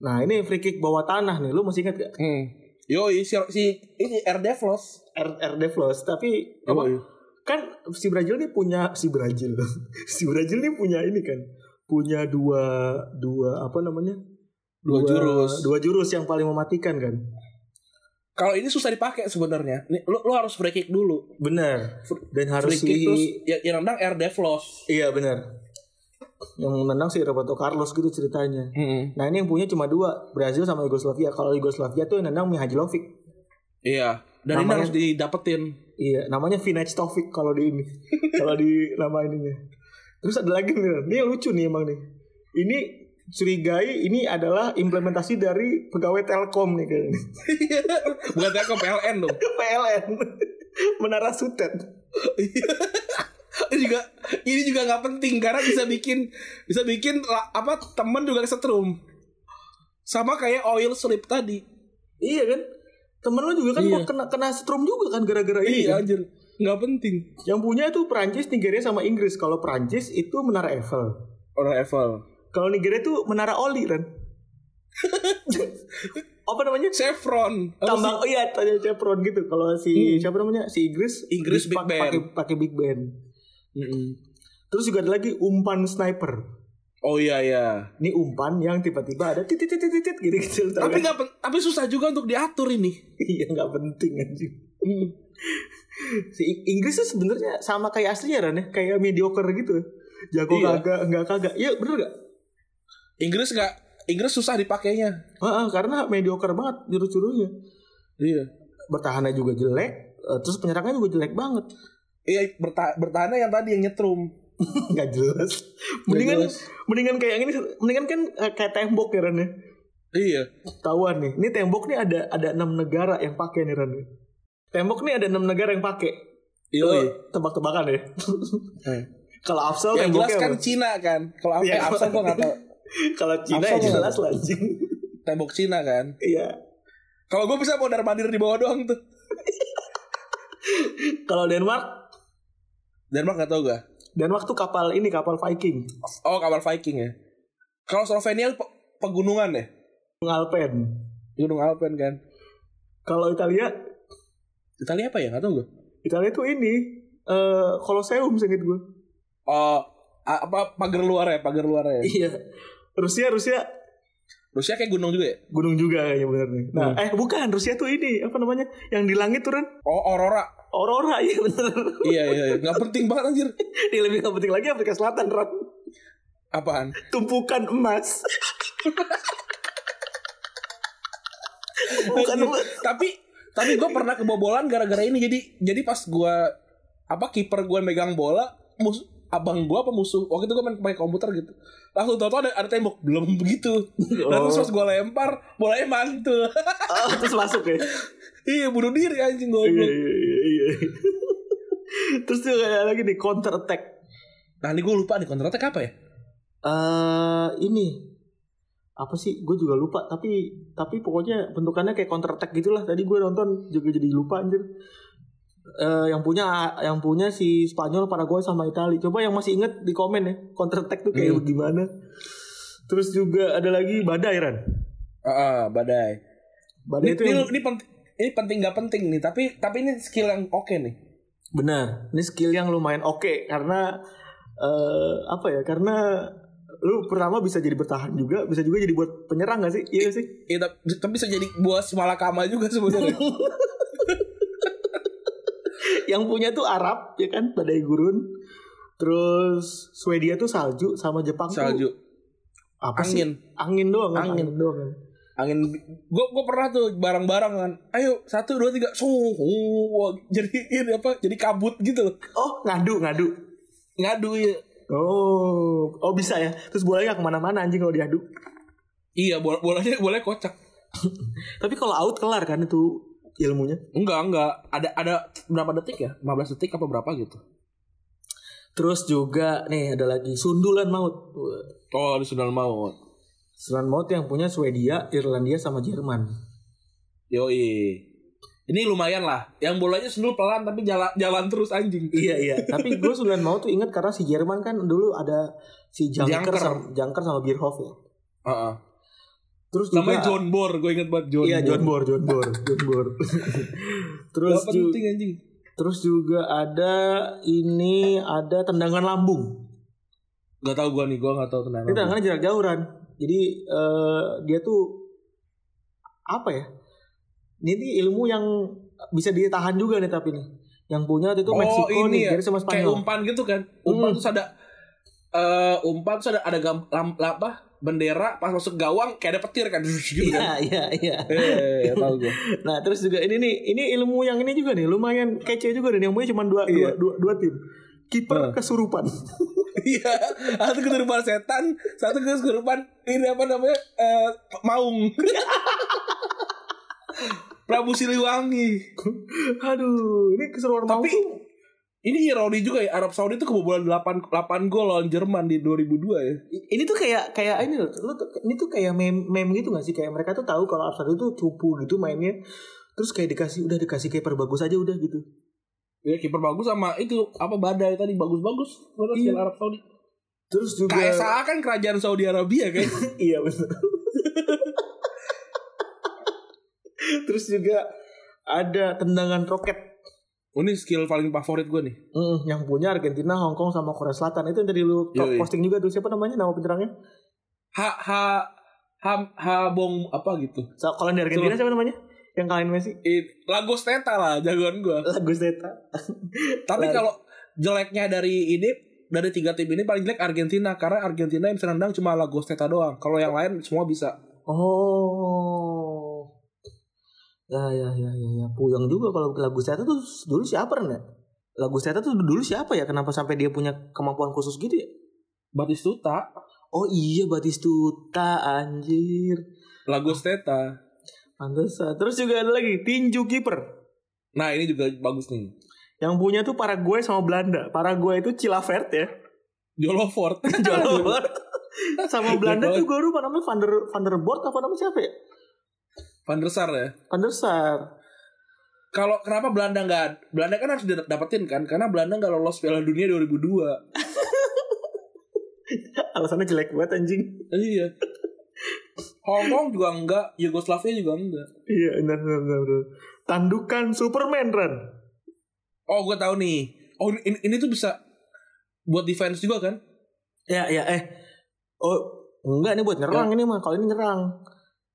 Nah ini free kick bawah tanah nih, lu masih ingat gak?
Hmm. Yo, si, si ini RD Floss. Oh,
R, R Devlos, tapi apa?
Apa?
kan si Brazil ini punya si Brazil si Brazil ini punya ini kan punya dua dua apa namanya
Dua jurus.
dua jurus yang paling mematikan kan
Kalau ini susah dipakai sebenarnya. Nih, Lu, lu harus free kick dulu.
bener dan harus
Free kick
di-
terus ya- yang nendang air Devlos.
iya bener yang menendang si Roberto Carlos gitu ceritanya
Hmm.
nah ini yang punya cuma dua Brazil sama Yugoslavia kalau Yugoslavia tuh yang nendang Mihajlovic
Iya. Dan ini
Namanya-
harus didapetin.
Iya, namanya Vinaj Taufik kalau di ini. kalau di nama ininya. Terus ada lagi nih, ini lucu nih emang nih. Ini curigai ini adalah implementasi dari pegawai Telkom nih kayaknya.
Bukan Telkom PLN dong.
PLN. Menara Sutet.
Iya. ini juga ini juga nggak penting karena bisa bikin bisa bikin la- apa temen juga kesetrum. Sama kayak oil slip tadi.
Iya kan? Temen lu juga kan
Iya.
kok kena kena strom juga kan gara-gara ini.
Iya
kan?
anjir. Nggak penting.
Yang punya itu Prancis, Nigeria sama Inggris. Kalau Prancis itu Menara Eiffel.
Orang Eiffel.
Kalau Nigeria itu Menara Oli kan. apa namanya?
Chevron. Apa
tambang oh iya tanya Chevron gitu kalau si siapa namanya si Inggris
Hmm. Inggris
pak-
Big
pakai
Band.
pakai Big Band
sih? Mm-mm.
terus juga ada lagi umpan sniper
Oh iya iya.
ini umpan yang tiba-tiba ada titit titit titit gitu gitu
Tapi nggak pen- tapi susah juga untuk diatur ini.
iya nggak penting anjing
Hmm.
si Ing- Inggris tuh sebenarnya sama kayak aslinya Ran ya kayak mediocre gitu jago
Iya.
kagak nggak kagak iya bener gak
Inggris nggak Inggris susah dipakainya.
Heeh, karena mediocre banget jurus-jurusnya
Iya.
bertahannya juga jelek eh, terus penyerangnya juga jelek banget
Iya berta- bertahannya yang tadi yang nyetrum.
nggak jelas mendingan
jelas.
mendingan kayak yang ini mendingan kan eh, kayak tembok ya Ran ya
Iya.
Tahuan nih. Ini tembok nih ada ada enam negara yang pakai nih Ran. Tembok nih ada enam negara yang pakai.
Iya. Eh.
Lo Tebak-tebakan ya. Oh, Kalau Afsel
Yang jelas
temboknya
kan
apa?
Cina kan. Kalau apa
Iya.
Absen gua nggak tahu.
kalau Cina ya
Afsel
jelas lah anjing.
Tembok Cina kan.
Iya.
Kalau gue bisa mondar mandir di bawah doang tuh.
Kalau Denmark,
Denmark nggak tahu gak?
Denmark tuh kapal ini kapal Viking,
Oh kapal Viking ya. Kalau Slovenia pe- pegunungan ya.
Alpen.
Gunung Alpen kan.
Kalau Italia,
Italia apa ya nggak tahu gue.
Italia tuh ini eh Colosseum seinget gue.
Oh a- apa pagar luar ya pagar luar ya.
Iya. Rusia Rusia
Rusia kayak gunung juga ya.
gunung juga kayaknya bener nih. Nah, eh bukan Rusia tuh ini apa namanya? Yang di langit tuh Ran.
Oh Aurora.
Aurora iya bener.
iya iya iya. nggak penting banget anjir.
Ini lebih gak penting lagi Afrika Selatan Ron.
Apaan?
Tumpukan emas Bukan
Anjir.
emas
Iya. tapi tapi gue pernah kebobolan gara-gara ini jadi jadi pas gue apa kiper gue megang bola mus abang gue apa musuh waktu itu gue main pakai komputer gitu langsung tau ada, ada tembok belum begitu Dan terus
Oh.
pas gue lempar bolanya mantul
oh, Terus masuk ya
iya bunuh diri anjing
Iya
goblok
iya iya, iya Terus juga ada lagi nih counter attack
nah ini gue lupa nih counter attack apa ya
Eh Ini apa sih gue juga lupa tapi tapi pokoknya bentukannya kayak counter attack gitulah tadi gue nonton juga jadi lupa anjir Eh yang punya yang punya si Spanyol Paraguay sama Italia coba yang masih inget di komen ya counter attack tuh kayak
Hmm.
gimana terus juga ada lagi badai Ran
ah ah, badai
badai
ini,
itu
ini,
yang-
ini penting ini penting nggak penting nih tapi tapi ini skill yang oke nih
Benar, ini skill yang lumayan oke karena eh apa ya? Karena lu pertama bisa jadi bertahan juga, bisa juga jadi buat penyerang gak sih? Iya nggak sih?
Iya, tapi, tapi bisa jadi buah malakama juga sebenarnya
Yang punya tuh Arab ya kan, badai gurun. Terus Swedia tuh salju sama Jepang tuh
salju
apa sih?
angin
Angin doang kan?
Angin.
doang kan.
angin gue gue pernah tuh barang-barang kan ayo satu dua tiga suh wah, jadi ini apa jadi kabut gitu loh
Oh, ngadu, ngadu.
ngadu ya
Oh, oh bisa ya. Terus bolanya gak kemana-mana anjing kalau diadu.
iya bola bolanya boleh kocak
Tapi kalau out kelar kan itu ilmunya.
enggak enggak ada ada berapa detik ya 15 detik apa berapa gitu
Terus juga nih ada lagi sundulan maut. Wah.
oh di sundal maut
Selan Maut yang punya Swedia, Irlandia sama Jerman.
yoi ini lumayan lah yang bolanya sundul pelan tapi jalan jalan terus anjing
Iya iya. Tapi gue Selan Maut tuh ingat karena si Jerman kan dulu ada si Janker,
Janker.
sama Janker sama Bierhoff ya.
Heeh.
Terus juga
namanya John Bor gue inget banget Iya, John
Iya John Bor, John Bor, John Bor. Terus
Nggak
ju-
penting anjing
Terus juga ada ini ada tendangan lambung.
Gak tau gue nih, gue gak tau tenang.
Ini tendangannya jarak jauhan. Jadi eh, dia tuh apa ya? Ini, ini ilmu yang bisa ditahan juga nih tapi nih. Yang punya waktu itu Meksiko Nigeria sama
Oh, ya. kayak
Spanyol.
umpan gitu kan. Umpan
Hmm.
terus ada eh umpan terus ada ada gam, lam, lam- apa? bendera pas masuk gawang kayak ada petir kan gitu kan.
Iya, iya, iya.
Eh, tahu gue.
Nah, terus juga ini nih, ini ilmu yang ini juga nih, lumayan kece juga dan yang punya cuma dua,
Iya.
dua, dua, dua tim. Kiper
Nah.
kesurupan.
Iya, satu keturunan setan, satu keturunan ini apa namanya? eh, maung. Prabu Siliwangi.
Aduh, ini keseruan mau
Tapi ini ironi juga ya Arab Saudi itu kebobolan 8 8 gol lawan Jerman di 2002 ya.
ini tuh kayak kayak ini loh, lu tuh- ini tuh kayak meme, meme gitu gak sih kayak mereka tuh tahu kalau Arsenal itu cupu gitu mainnya terus kayak dikasih udah dikasih kiper bagus aja udah gitu
Ya kiper bagus sama itu apa badai tadi bagus-bagus. Menurut
Iya.
yang Arab Saudi.
terus juga
KSA kan kerajaan Saudi Arabia kan.
iya bener terus juga ada tendangan roket
Oh, ini skill paling favorit gue nih.
Mm, yang punya Argentina, Hong Kong sama Korea Selatan itu yang tadi lu
Yoi.
posting juga tuh siapa namanya nama penyerangnya?
Ha ha ha, ha bong apa gitu.
So, kalau yang dari
Tuh.
Argentina siapa namanya? Yang kalian Messi?
It, Lagos Teta lah jagoan gue.
Lagu Zeta.
Tapi
Lari.
kalau jeleknya dari ini dari tiga tim ini paling jelek Argentina karena Argentina yang bisa nendang cuma Lagos Teta doang. Kalau yang lain semua bisa.
Oh. Ya ya ya ya ya puyeng juga kalau lagu Zeta tuh dulu siapa Ren, ya? Lagu Zeta tuh dulu siapa ya? Kenapa sampai dia punya kemampuan khusus gitu ya?
Batistuta,
Oh iya Batistuta anjir.
Lagos Teta.
Pantesan. Terus juga ada lagi tinju kiper.
Nah, ini juga bagus nih.
Yang punya tuh Paraguay sama Belanda. Paraguay itu Chilavert ya.
Jolo Fort.
Jolor. sama Belanda
Jolor.
tuh gue lupa namanya Van der Van der Bort apa namanya siapa ya?
Van der Sar ya.
Van der Sar.
Kalau kenapa Belanda nggak Belanda kan harus didapetin kan karena Belanda nggak lolos Piala Dunia 2002.
Alasannya jelek banget anjing.
iya. Hong Kong juga enggak, Yugoslavia juga enggak.
Iya, benar benar benar. benar. Tandukan Superman Ren.
Oh, gue tahu nih. Oh, ini, ini tuh bisa buat defense juga kan?
Ya, ya, eh. Oh, enggak ini buat nyerang ini mah. Kalau ini nyerang.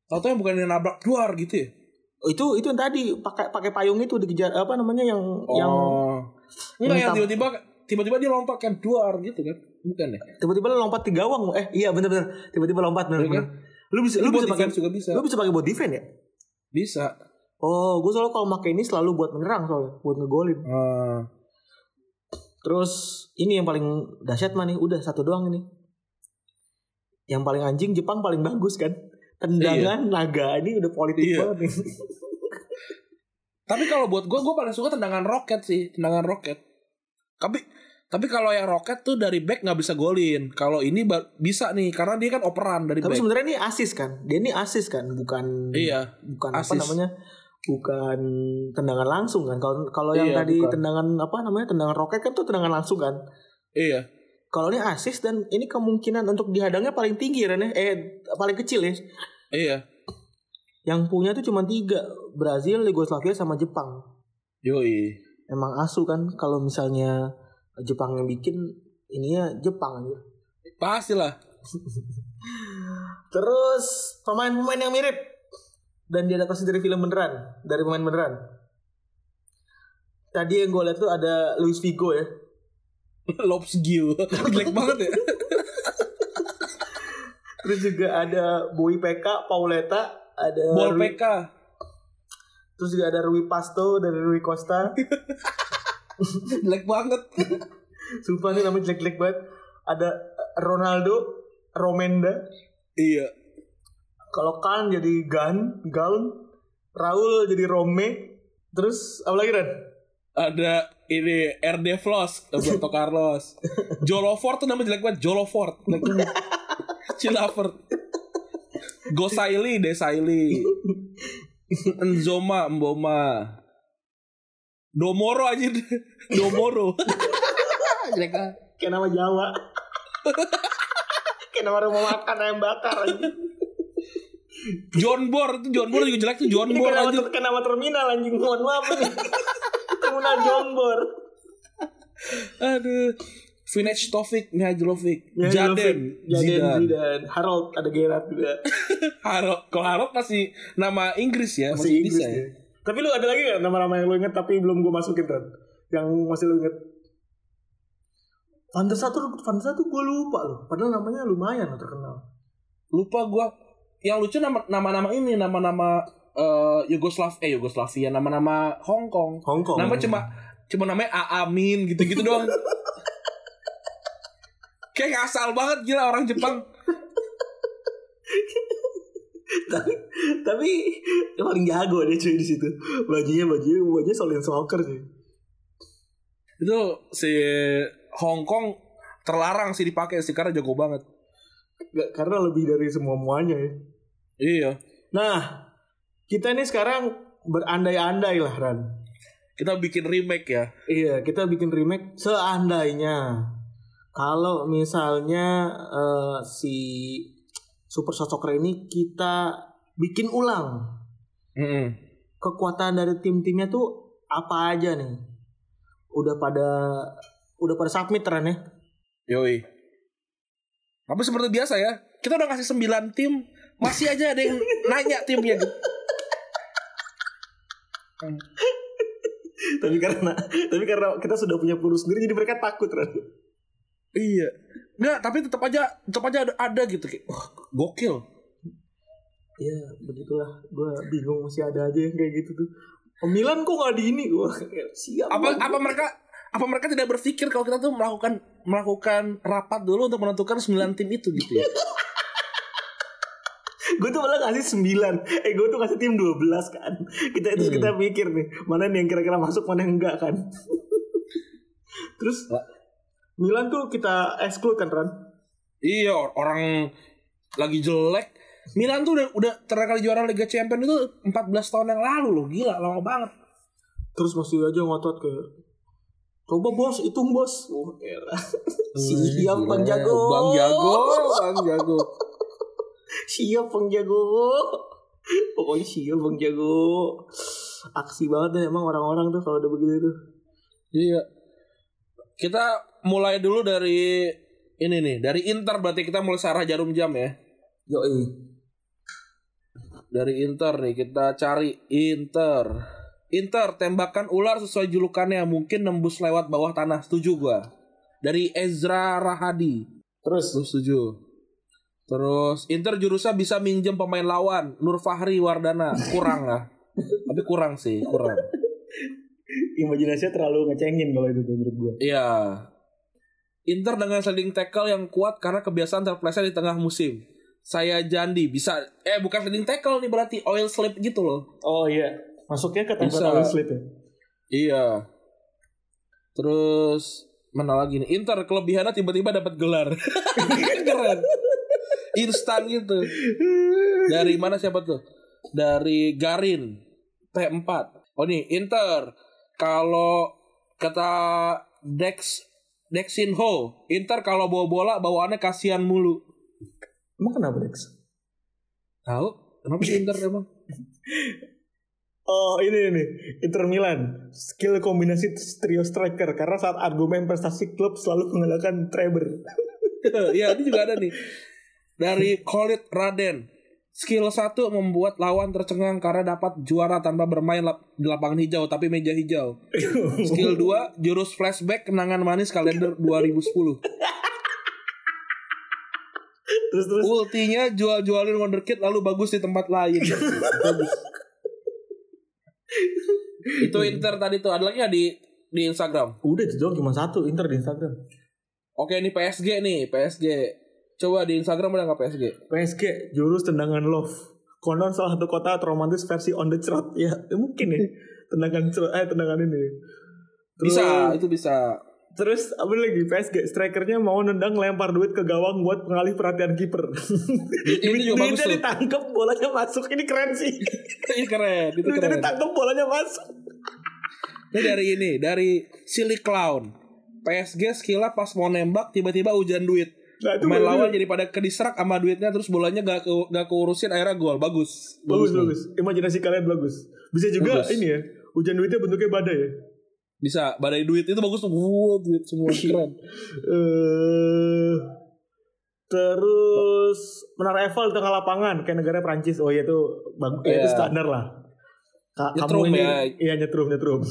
Atau yang bukan yang nabrak luar gitu ya?
Oh, itu itu yang tadi pakai pakai payung itu dikejar apa namanya yang yang
Oh. Enggak yang
Entah.
tiba-tiba tiba-tiba dia lompat kan duar gitu kan? Bukan ya?
tiba-tiba lu lompat di gawang. Eh, iya benar benar. Tiba-tiba lompat benar
Iya
benar. Lu bisa lu
Itu buat
bisa pakai
defense juga bisa.
lu bisa pakai body defense ya?
Bisa.
Oh, gue selalu kalau pakai ini selalu buat menyerang soalnya, buat ngegolin.
Ah,
Terus ini yang paling dahsyat mah nih, udah satu doang ini. Yang paling anjing Jepang paling bagus kan? Tendangan naga ini udah politik
Iya.
banget nih.
tapi kalau buat gue, gue paling suka tendangan roket sih, tendangan roket. Tapi tapi kalau yang roket tuh dari back nggak bisa golin. Kalau ini ba- bisa nih, karena dia kan operan dari
Tapi
back.
sebenarnya ini asis kan? Dia ini asis kan, bukan
Iya.
bukan apa
asis.
namanya? Bukan tendangan langsung kan? Kalau kalau yang
Iya,
tadi
bukan.
tendangan apa namanya? Tendangan roket kan tuh tendangan langsung kan?
Iya.
Kalau ini asis dan ini kemungkinan untuk dihadangnya paling tinggi Ren, ya. eh paling kecil ya.
Iya.
Yang punya tuh cuma tiga Brazil, Yugoslavia sama Jepang.
Yoi.
Emang asu kan kalau misalnya Jepang yang bikin ininya Jepang aja.
Pastilah.
Terus pemain-pemain yang mirip dan diadaptasi dari film beneran, dari pemain beneran. Tadi yang gue lihat tuh ada Luis Figo ya.
Lobs Gil. Jelek banget ya.
Terus juga ada Boy PK, Pauleta, ada
Bol
Rui-
PK.
terus juga ada Rui Pasto dari Rui Costa.
Jelek banget.
Sumpah nih namanya jelek-jelek banget. Ada Ronaldo, Romenda,
iya.
Kalau Kan jadi Gan, Gaun, Raul jadi Rome, terus apa lagi Ren?
ada ini RD Floss Roberto Carlos Jolo Ford tuh nama jelek banget Jolo Nah, Ford Jelek banget. Chilafert Gosaili Desaili Enzoma Mboma Domoro aja Domoro
Kayak nama Jawa. Kayak nama rumah makan ayam bakar anjing.
John Bor itu John Bor juga jelek tuh John
Ini
Bor
kayak nama,
aja
kayak nama terminal anjing. Mohon maaf nih.
Terminal Jombor.
Aduh. Vinage Taufik Mihajlovic,
Ya,
Jaden,
Jovic, Jaden
Zidane.
Zidane. Harold ada Gerard juga.
Harok, kalau Harok masih nama Inggris ya, masih,
Masih Inggris
bisa ya.
dia. Tapi lu ada lagi gak nama-nama yang lu inget tapi belum gue masukin kan? Yang masih lu inget? Van der Sar tuh, Van der Sar tuh gue lupa loh. Padahal namanya lumayan loh terkenal.
Lupa gua. Yang lucu nama- nama-nama ini, nama-nama eh, Yugoslav eh Yugoslavia, nama-nama Hong Kong.
Hong Kong.
Nama cuma cuma namanya Aamin gitu-gitu doang. Kayak asal banget gila orang Jepang.
tapi tapi yang paling jago dia cuy di situ. Bajunya bajunya bajunya Solin Soccer sih.
Itu si Hong Kong terlarang sih dipakai sih karena jago banget.
Gak, karena lebih dari semua muanya ya.
Iya.
Nah, kita ini sekarang berandai-andai lah Ran.
Kita bikin remake ya.
Iya, kita bikin remake seandainya kalau misalnya eh, si Super Soccer ini kita bikin ulang
Mm-mm.
kekuatan dari tim-timnya tuh apa aja nih? Udah pada udah pada submit Ran ya?
Yoi. Tapi seperti biasa ya, kita udah ngasih 9 tim, masih aja ada yang nanya timnya.
tapi karena tapi karena kita sudah punya peluru sendiri jadi mereka takut Ran.
Iya. Enggak, tapi tetap aja tetap aja ada, ada gitu kayak. Wah, gokil.
Iya, begitulah. Gua bingung masih ada aja yang kayak gitu tuh. Oh, Milan kok nggak di ini? Gua kayak, siap.
Apa
Bang.
apa mereka apa mereka tidak berpikir kalau kita tuh melakukan melakukan rapat dulu untuk menentukan 9 tim itu gitu ya.
gue tuh malah ngasih 9 eh gue tuh ngasih tim 12 kan kita terus kita mikir nih mana nih yang kira-kira masuk mana yang enggak kan terus Milan tuh kita exclude kan Ran
iya, or- orang lagi jelek. Milan tuh udah, udah terakhir kali juara Liga Champions itu 14 tahun yang lalu loh, gila lama banget.
terus masih aja ngotot ke coba bos hitung bos oh, elah. siap bang jago
Bang Jago, Bang Jago.
siap bang jago pokoknya siap bang jago aksi banget deh emang orang-orang tuh kalau udah begitu tuh
Iya. Kita mulai dulu dari ini nih, dari Inter berarti kita mulai sarah jarum jam ya.
yoi
Dari Inter nih kita cari Inter. Inter tembakan ular sesuai julukannya mungkin nembus lewat bawah tanah. Setuju gua. Dari Ezra Rahadi.
terus
Lu setuju. Terus Inter jurusnya bisa minjem pemain lawan Nur Fahri Wardana kurang lah. Tapi kurang sih, kurang.
imajinasinya terlalu ngecengin kalau itu tuh menurut gue
Iya. Inter dengan sliding tackle yang kuat karena kebiasaan terpleset di tengah musim. Saya Jandi bisa eh bukan sliding tackle nih berarti oil slip gitu loh.
Oh iya, masuknya ke tempat
Bisa.
awal sulit ya.
Iya. Terus mana lagi nih? Inter kelebihannya tiba-tiba dapat gelar. Kan Keren. Instan gitu. Dari mana siapa tuh? Dari Garin T4. Oh nih Inter. Kalau kata Dex Dexinho, Inter kalau bawa bola bawaannya kasihan mulu.
Emang kenapa Dex?
Tahu? Kenapa sih Inter emang?
Oh ini nih Inter Milan skill kombinasi trio striker karena saat argumen prestasi klub selalu mengandalkan Treber.
Iya, ini juga ada nih. Dari Khalid Raden. Skill satu membuat lawan tercengang karena dapat juara tanpa bermain lap- di lapangan hijau tapi meja hijau. Skill 2 jurus flashback kenangan manis kalender 2010.
terus terus
Ultinya jual-jualin wonderkid lalu bagus di tempat lain. Iya, bagus. Itu Inter tadi tuh ada lagi nggak di di Instagram.
udah itu doang cuma satu Inter di Instagram.
Oke ini PSG nih PSG. Coba di Instagram ada nggak PSG?
PSG jurus tendangan love. Konon salah satu kota romantis versi on the trot ya eh, mungkin ya tendangan cerot eh tendangan ini. Terus-
Bisa itu bisa.
Terus apa lagi PSG strikernya mau nendang lempar duit ke gawang buat pengalih perhatian kiper.
Ini juga bagus
Duitnya
tuh.
ditangkap bolanya masuk ini keren sih.
Ini Iya, keren, itu
Duitnya
keren.
ditangkap bolanya masuk.
Ini dari ini, dari Silly Clown. PSG skillnya pas mau nembak tiba-tiba hujan duit.
Nah, itu
Main
bagus.
lawan jadi pada kedistrak sama duitnya terus bolanya gak, ke, gak keurusin akhirnya gol. Bagus.
Bagus
nih.
bagus. Imajinasi kalian bagus. Bisa juga
Bagus.
ini ya. Hujan duitnya bentuknya badai ya.
Bisa badai duit itu bagus tuh. Wuh, duit semua keren.
eh terus Menara Eiffel di tengah lapangan kayak negara Prancis. Oh iya itu bagus. Iya, Itu
Iya.
standar lah. Ka-
Nyetrum
kamu ini
ya.
iya nyetrum nyetrum.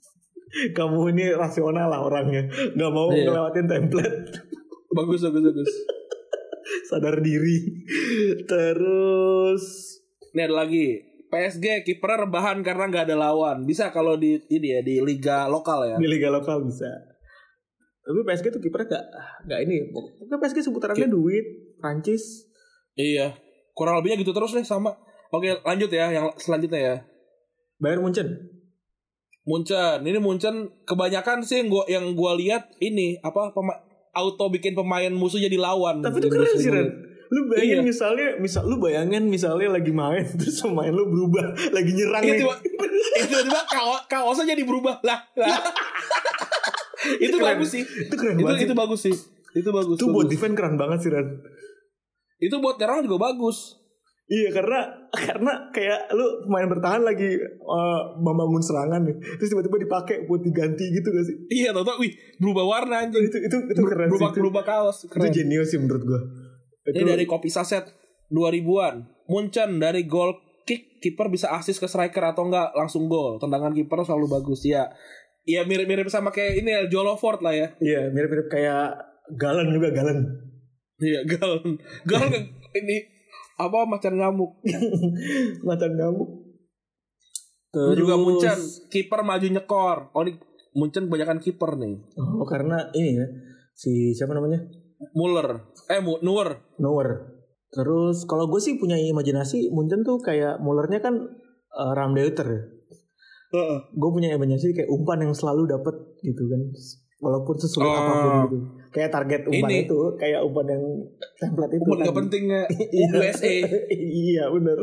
kamu ini rasional lah orangnya. Gak mau
Iya.
ngelewatin template.
bagus bagus bagus.
Sadar diri. Terus
Ini ada lagi. PSG kipernya rebahan karena nggak ada lawan. Bisa kalau di ini ya di liga lokal ya.
di liga lokal bisa. Tapi PSG tuh kipernya gak, gak ini. Pokoknya PSG seputarannya duit. Prancis.
Iya. Kurang lebihnya gitu terus deh sama. Oke, lanjut ya yang selanjutnya ya.
Bayern Munchen.
Munchen. Ini Munchen kebanyakan sih yang gua yang gua lihat ini apa pema- auto bikin pemain musuh jadi lawan.
Tapi itu
Jadi
keren
musuh
sih Ren.
murid.
Lu
Iya.
bayangin misalnya, misal lu bayangin misalnya lagi main terus pemain lu berubah, lagi nyerang
Iya,
nih.
tiba- Eh, tiba-tiba kaos kaosnya jadi berubah lah. lah. itu
Keren.
bagus sih.
Itu keren
Itu
banget. sih.
itu bagus sih. Itu bagus.
Itu buat
bagus.
defense keren banget sih Ren.
Itu buat nyerang juga bagus.
Iya karena karena kayak lu pemain bertahan lagi eh, membangun serangan nih, terus tiba-tiba dipakai buat diganti gitu gak sih?
Iya, tau wih, berubah warna anjing.
Itu itu itu keren sih.
berubah
Itu,
berubah kaos.
itu
Keren.
jenius sih menurut gua.
Ini dari kopi saset 2000-an. Munchen dari gol kick kiper bisa assist ke striker atau enggak langsung gol. Tendangan kiper selalu bagus ya. Iya mirip-mirip sama kayak ini ya Jolo Ford lah ya.
Iya mirip-mirip kayak Galen juga Galen.
Iya gal gal ini apa macan ngamuk.
Macam kamu.
Terus juga Munchen kiper maju nyekor. Oh ini Munchen kebanyakan kiper nih.
Oh karena ini ya si siapa namanya?
Muller eh Mu- Neuer.
Nowhere. Terus kalau gue sih punya imajinasi Munchen tuh kayak Mullernya kan eh, Ramdeuter ya. Gue punya imajinasi kayak umpan yang selalu dapet gitu kan. Walaupun sesulit
Ah.
apapun gitu. Kayak target umpan
Ini.
itu, kayak umpan yang template itu.
Umpan
kan.
gak penting ya.
Iya.
USA.
iya bener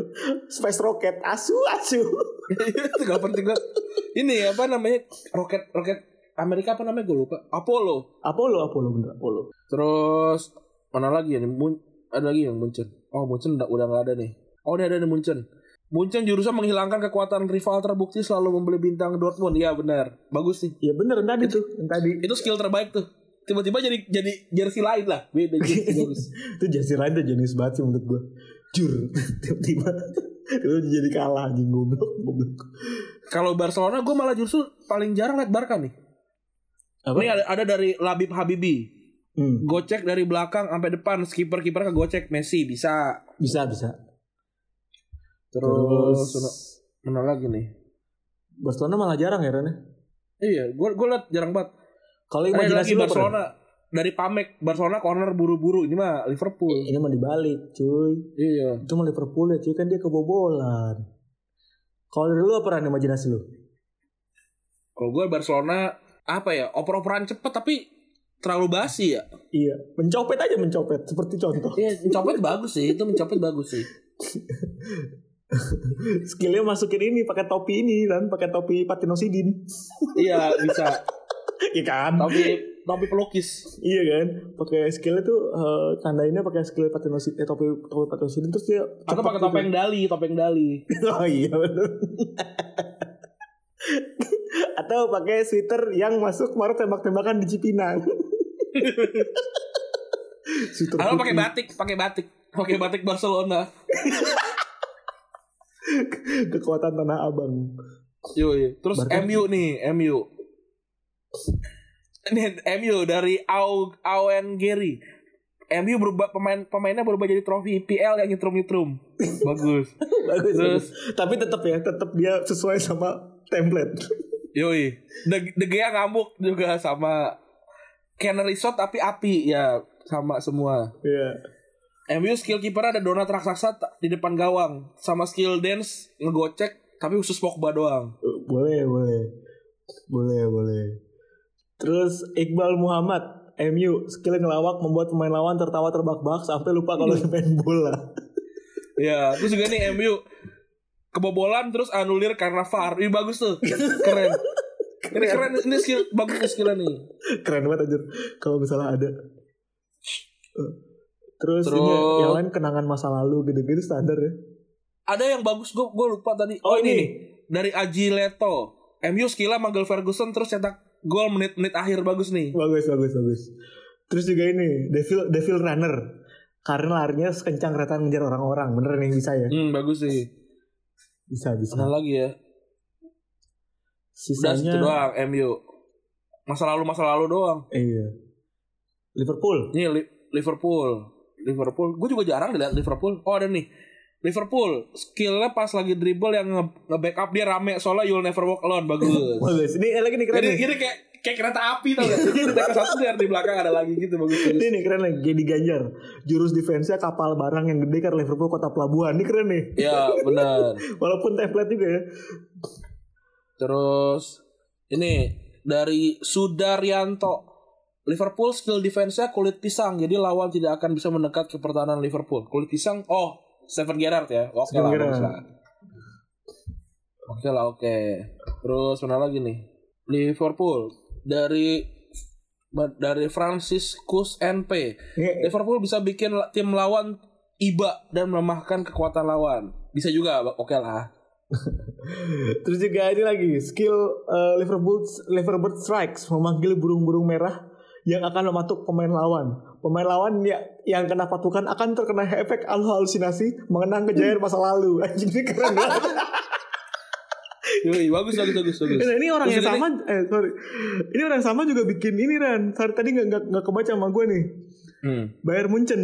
Space rocket asu asu
itu gak penting banget. Ini apa namanya roket roket Amerika apa namanya gue lupa. Apollo.
Apollo Apollo bener Apollo
Terus mana lagi ya nih? Mun- ada lagi yang Munchen. Oh Munchen udah udah nggak ada nih. Oh ini ada nih Munchen. Munchen jurusan menghilangkan kekuatan rival terbukti selalu membeli bintang Dortmund. Iya benar. Bagus sih.
Iya bener yang tadi tuh Yang tadi
Itu skill terbaik tuh. Tiba-tiba jadi jadi jersey lain lah. Beda jersey bagus.
Itu jersey lain tuh jenis banget sih menurut gue Jur Tiba-tiba Itu jadi kalah anjing goblok goblok
Kalau Barcelona gue malah justru paling jarang liat Barca nih.
Apa?
Ini ada, ada dari Labib Habibi.
Hmm,
Gocek dari belakang sampai depan. Skipper kiper ke gocek Messi bisa.
bisa bisa
Terus,
Terus
mana lagi nih?
Barcelona malah jarang ya Ren ya?
Iya, gue gue liat jarang banget.
Kalau
Ada
imajinasi
Eh, lagi
lu apa, Ren?
Barcelona dari Pamek Barcelona corner buru-buru ini mah Liverpool.
Ini mah dibalik cuy
Iya.
Itu mah Liverpool ya cuy kan dia kebobolan Kalau dari lu apa Ren imajinasi lu?
Kalau gue Barcelona apa ya oper-operan cepet tapi terlalu basi ya.
Iya Mencopet aja mencopet Seperti contoh
Iya, mencopet bagus sih, itu mencopet bagus sih.
Skillnya masukin ini pakai topi ini kan Pakai topi Patinosidin
iya, bisa.
Iya kan
Tapi tapi pelukis.
Iya kan Pakai skillnya tuh eh, Tandainnya pakai skill Patinosidin eh, Topi, topi Patinosidin Terus dia
Atau
cepak
pakai
gitu.
topeng dali, topeng dali.
Oh iya bener. Atau pakai sweater yang masuk kemarin tembak-tembakan di Cipinang. sweater
Atau pakai
putih.
batik, pakai batik. Pakai batik Barcelona.
kekuatan tanah abang.
Yoi. Terus
Barca-
MU nih, MU. Ini MU dari Au Auen Gary. MU berubah pemain pemainnya berubah jadi trofi IPL yang nyetrum-nyetrum. Bagus.
Bagus.
Terus-
bagus. Tapi tetap ya, tetap dia sesuai sama template.
Yoi. De, De Gea ngambuk juga sama Canary Shot tapi api ya sama semua.
Iya.
MU skill kiper ada donat raksasa ta- di depan gawang sama skill dance ngegocek tapi khusus Pogba doang.
Boleh, boleh. Boleh, boleh. Terus Iqbal Muhammad, MU, skill ngelawak membuat pemain lawan tertawa terbak-bak sampai lupa kalau main bola.
Ya, terus juga nih MU kebobolan terus anulir karena VAR. Ih bagus tuh. Keren. Ini keren ini skill bagus nih skillnya nih.
keren banget anjir kalau misalnya ada Eh, terus,
Terus-
ini ya, yang lain kenangan masa lalu gitu-gitu standar ya
Ada yang bagus gue gue lupa tadi.
Oh, ini.
nih. dari Aji Leto. MU skillnya manggil Ferguson terus cetak gol menit-menit akhir bagus nih.
Bagus, bagus, bagus. Terus juga ini, Devil, Devil Runner. Karena larinya sekencang kereta ngejar orang-orang. Bener nih bisa ya?
Hmm, bagus sih.
Bisa, bisa.
Ada lagi ya. Udah situ
Sisanya,
doang MU. Masa lalu masa lalu doang.
iya. Liverpool.
Ini Li- Liverpool. Liverpool. Gue juga jarang lihat Liverpool. Oh ada nih. Liverpool skillnya pas lagi dribble yang nge- nge-backup dia rame soalnya you'll never walk alone bagus.
Bagus. Ini eh, lagi nih keren
Jadi
nih.
jadi kayak kayak kereta api tau gak? Jadi mereka satu lihat di belakang ada lagi gitu bagus.
Ini nih keren nih, Gedi Ganjar. Jurus defense-nya kapal barang yang gede karena Liverpool kota pelabuhan. Ini keren nih.
Ya benar.
Walaupun template juga ya.
Terus ini dari Sudaryanto. Liverpool skill defense-nya kulit pisang, jadi lawan tidak akan bisa mendekat ke pertahanan Liverpool. Kulit pisang, oh, Steven Gerrard ya. Oke
Steven
lah,
Gerrard.
bagus lah. Oke lah, oke. Terus mana lagi nih? Liverpool dari dari Franciscus NP.
Ini
Liverpool bisa bikin la- tim lawan iba dan melemahkan kekuatan lawan. Bisa juga, oke lah.
Terus juga ini lagi skill eh, Liverpool Liverpool strikes memanggil burung-burung merah yang akan mematuk pemain lawan. Pemain lawan ya, yang kena patukan akan terkena efek halusinasi mengenang kejayaan masa lalu. Anjing ini keren banget.
Yoi, bagus, bagus, bagus, bagus.
Nah, ini orang
Terus
yang
ini-
sama eh sorry. Ini orang yang sama juga bikin ini Ran. Tadi tadi nggak- nggak nggak kebaca sama gue nih.
Hmm.
Bayern Munchen.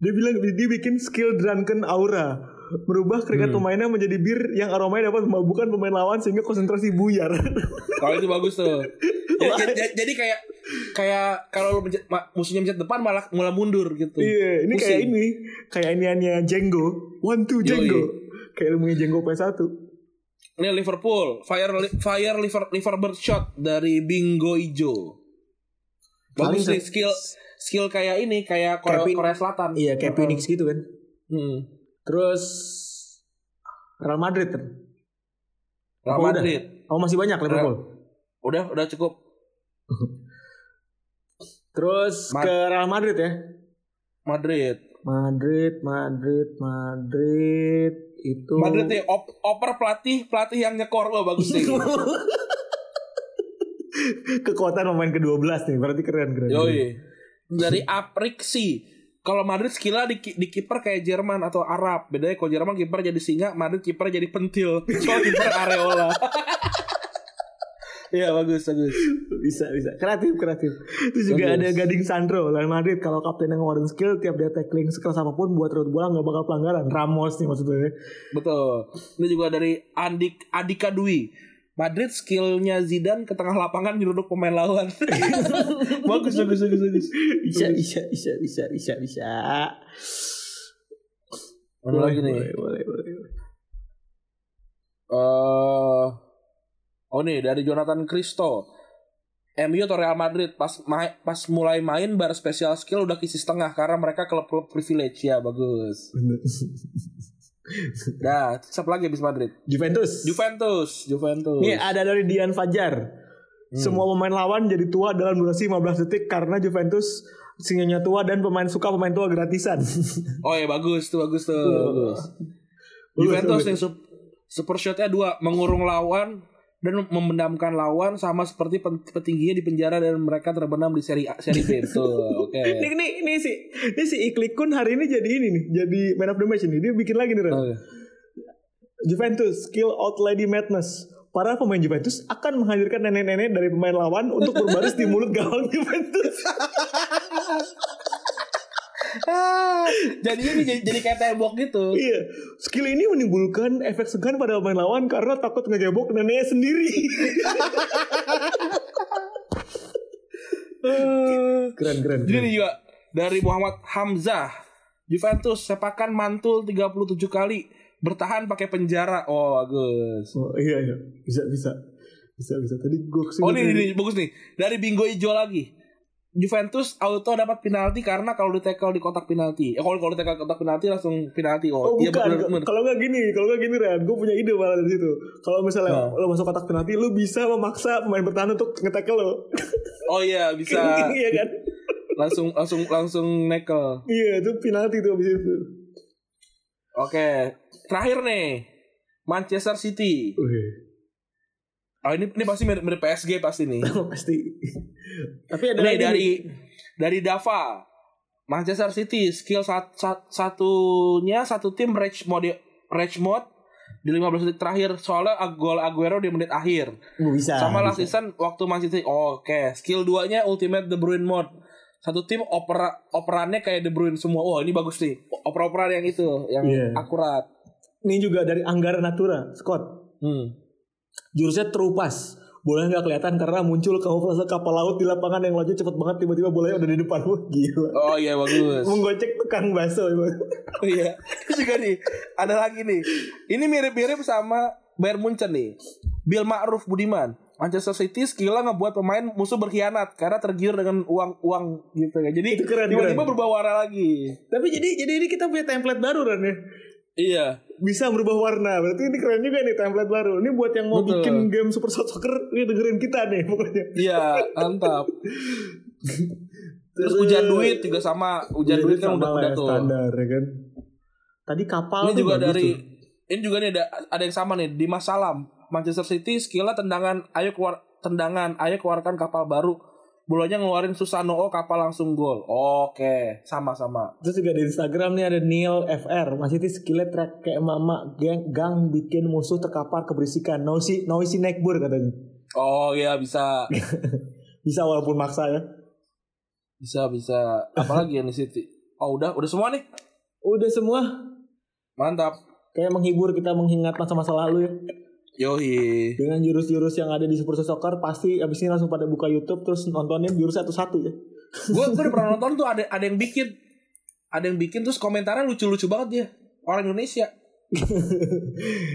Dia bilang dia bikin skill drunken aura merubah keringat
Hmm.
pemainnya menjadi bir yang aromanya dapat memabukkan pemain lawan sehingga konsentrasi buyar.
Kalau itu bagus tuh. Jadi, jadi- jadi kayak kayak kalau lu mencet- ma- musuhnya mencet depan malah mulai mundur gitu.
Iya, ini kayak
Pusing.
ini, kayak iniannya Jenggo, one two Jenggo, kayak ilmunya Jenggo P1.
Ini Liverpool, fire li- fire liver Liverpool shot dari Bingo Ijo. Bagus
Paling
sih skill skill kayak ini kayak Korea,
Kevin-
Korea Selatan.
Iya, kayak Phoenix gitu kan.
Hmm.
Terus Real Madrid kan?
Real
Apa udah?
Madrid.
Oh masih banyak Liverpool.
Udah udah cukup.
Terus
Mad-
ke Real Madrid ya.
Madrid.
Madrid, Madrid, Madrid itu.
Madrid nih op- oper pelatih pelatih yang nyekor wah bagus sih.
Kekuatan pemain ke-12 nih, berarti keren keren.
Yoi. Dari Apriksi. Kalau Madrid skillnya di, ki- di kiper kayak Jerman atau Arab. Bedanya kalau Jerman kiper jadi singa, Madrid kiper jadi pentil. Kalau kiper areola. Iya bagus bagus.
bisa bisa kreatif kreatif itu juga
Bagus.
ada Gading Sandro Real Madrid kalau kapten yang ngeluarin skill tiap dia tackling sekeras apapun buat road bola nggak bakal pelanggaran Ramos nih maksudnya
Betul. Ini juga dari Andik Adika Dwi. Madrid skillnya Zidane ke tengah lapangan nyeruduk pemain lawan. bagus bagus bagus bagus.
bisa bisa bisa bisa bisa bisa
Mana lagi nih?
boleh boleh boleh
eh oh nih dari Jonathan Cristo. MU atau Real Madrid pas ma- pas mulai main bar special skill udah kisi setengah karena mereka klub-klub privilege ya bagus.
Bener.
Nah, siapa lagi habis Madrid?
Juventus
Juventus, Juventus.
Nih ada dari Dian Fajar semua pemain lawan jadi tua dalam durasi 15 detik karena Juventus singanya tua dan pemain suka pemain tua gratisan
Oh ya bagus tuh, bagus tuh. Bagus.
Bagus,
Juventus
bagus.
yang sup- super shotnya dua mengurung lawan dan memendamkan lawan sama seperti pen- petingginya di penjara dan mereka terbenam di seri A, seri B Betul, Oke.
Ini, ini, ini si ini si Iklikun hari ini jadi ini nih, jadi man of the match ini. Dia bikin lagi nih, Ren.
Oke.
Juventus skill out lady madness. Para pemain Juventus akan menghadirkan nenek-nenek dari pemain lawan untuk berbaris di mulut gawang Juventus.
Ah, jadi ini jadi, jadi kayak tembok gitu.
iya, skill ini menimbulkan efek segan pada pemain lawan karena takut ngegebok neneknya sendiri. keren keren.
Jadi ini juga dari Muhammad Hamzah. Juventus sepakan mantul 37 kali bertahan pakai penjara. Oh, bagus.
Oh, iya iya, bisa bisa. Bisa bisa. Tadi gue kesini.
Oh, ini, ini, ini, bagus nih. Dari Bingo Ijo lagi. Juventus auto dapat penalti karena kalau di tackle di kotak penalti. Eh, kalau kalau di tackle di kotak penalti langsung penalti. Oh,
Oh
iya
bukan,
bener, bener.
kalau nggak gini, kalau nggak gini Ren, gue punya ide malah dari situ. Kalau misalnya
Nah.
lo masuk kotak penalti, lo bisa memaksa pemain bertahan untuk ngetekel lo.
Oh iya, bisa
Iya kan?
langsung langsung langsung nekel.
Iya itu penalti tuh abis itu.
Oke, terakhir nih. Manchester City.
Wih,
Oh ini ini pasti mirip, mirip PSG pasti nih.
Iya, pasti. Nah, Tapi ada
Nih
lagi
dari dari Dava. Manchester City skill sat, sat- satunya satu tim rage mode rage mode di 15 detik terakhir soalnya ag- gol Aguero di menit akhir.
Gua bisa.
Sama last
bisa.
season waktu Manchester City. oh, oke, skill 2-nya Ultimate De Bruyne mode. Satu tim opera operannya kayak De Bruyne semua. Wah, ini bagus nih. Opera-operan yang itu yang
Iya.
akurat.
Ini juga dari Anggara Natura, Scott.
Hmm.
Jurusnya terupas. Bola nggak kelihatan karena muncul kamuflase kapal laut di lapangan yang loncat cepet banget tiba-tiba bolanya udah di depan Wah, gila.
Oh iya bagus.
Menggocek tukang bakso. emang.
Oh iya. Terus juga nih, ada lagi nih. Ini mirip-mirip sama Bayern Munchen nih. Bill Ma'ruf Budiman. Manchester City skillnya ngebuat pemain musuh berkhianat karena tergiur dengan uang-uang gitu kan. Jadi
Itu keren,
tiba-tiba
keren.
berubah warna lagi.
Tapi jadi jadi ini kita punya template baru Ran ya.
Iya.
Bisa berubah warna. Berarti ini keren juga nih template baru. Ini buat yang mau
Betul.
bikin game Super Soccer, ini dengerin kita nih pokoknya.
Iya, mantap. Terus hujan duit juga sama. Hujan duit kan
sama
udah
lah
udah
ya,
tuh.
standar ya kan. Tadi kapal
Ini
tuh gitu.
juga
bagus
dari
tuh.
ini juga nih ada ada yang sama nih di Masalam Manchester City skillnya tendangan ayo keluar tendangan ayo keluarkan kapal baru bolanya ngeluarin Susanoo kapal langsung gol oke sama-sama
Terus juga di Instagram nih ada Neil FR Masih itu skillnya track kayak mama gang, gang bikin musuh terkapar keberisikan Noisy, noisy neckbur katanya
oh iya bisa
Bisa walaupun maksa ya
bisa bisa apalagi yang di City oh udah udah semua nih
Udah semua
mantap
Kayak menghibur kita mengingat masa-masa lalu ya
Yoi
Dengan jurus-jurus yang ada di Super Soccer Pasti abis ini langsung pada buka Youtube Terus nontonin jurus satu-satu ya
gue gue udah pernah nonton tuh ada ada yang bikin ada yang bikin terus komentarnya lucu-lucu banget dia orang Indonesia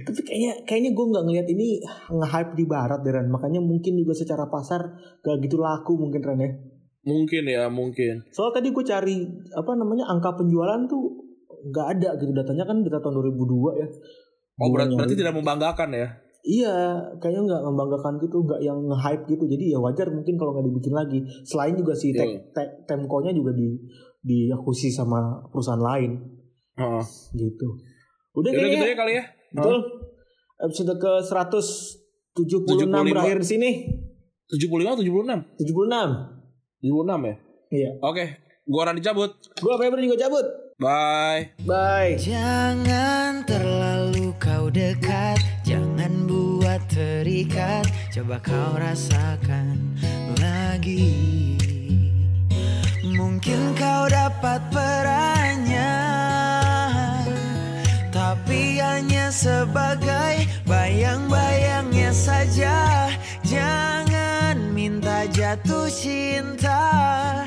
Tapi kayaknya kayaknya gue nggak ngelihat ini nge-hype di barat deh Ran Makanya mungkin juga secara pasar gak gitu laku mungkin Ran ya
mungkin ya mungkin
Soal tadi gue cari apa namanya angka penjualan tuh nggak ada gitu datanya kan data tahun 2002 ya.
oh berat-
Gua
berarti
nyari.
tidak membanggakan ya
Iya, kayaknya nggak membanggakan gitu, nggak yang nge-hype gitu. Jadi ya wajar mungkin kalau nggak dibikin lagi. Selain juga si
Iya.
te- te- Temco-nya juga di diakuisisi sama perusahaan lain
Heeh.
gitu. Udah
Yaudah gitu
kayaknya
ya kali ya
betul. Episode ke
75.
176 berakhir di sini.
75 76 76
76.
ya
Iya.
oke gua Rani cabut
Gua Febri juga cabut.
bye
Bye.
Jangan terlalu kau dekat, jangan buat terikat. Coba kau rasakan lagi. Mungkin kau dapat perannya, tapi hanya sebagai bayang-bayangnya saja. Jangan minta jatuh cinta,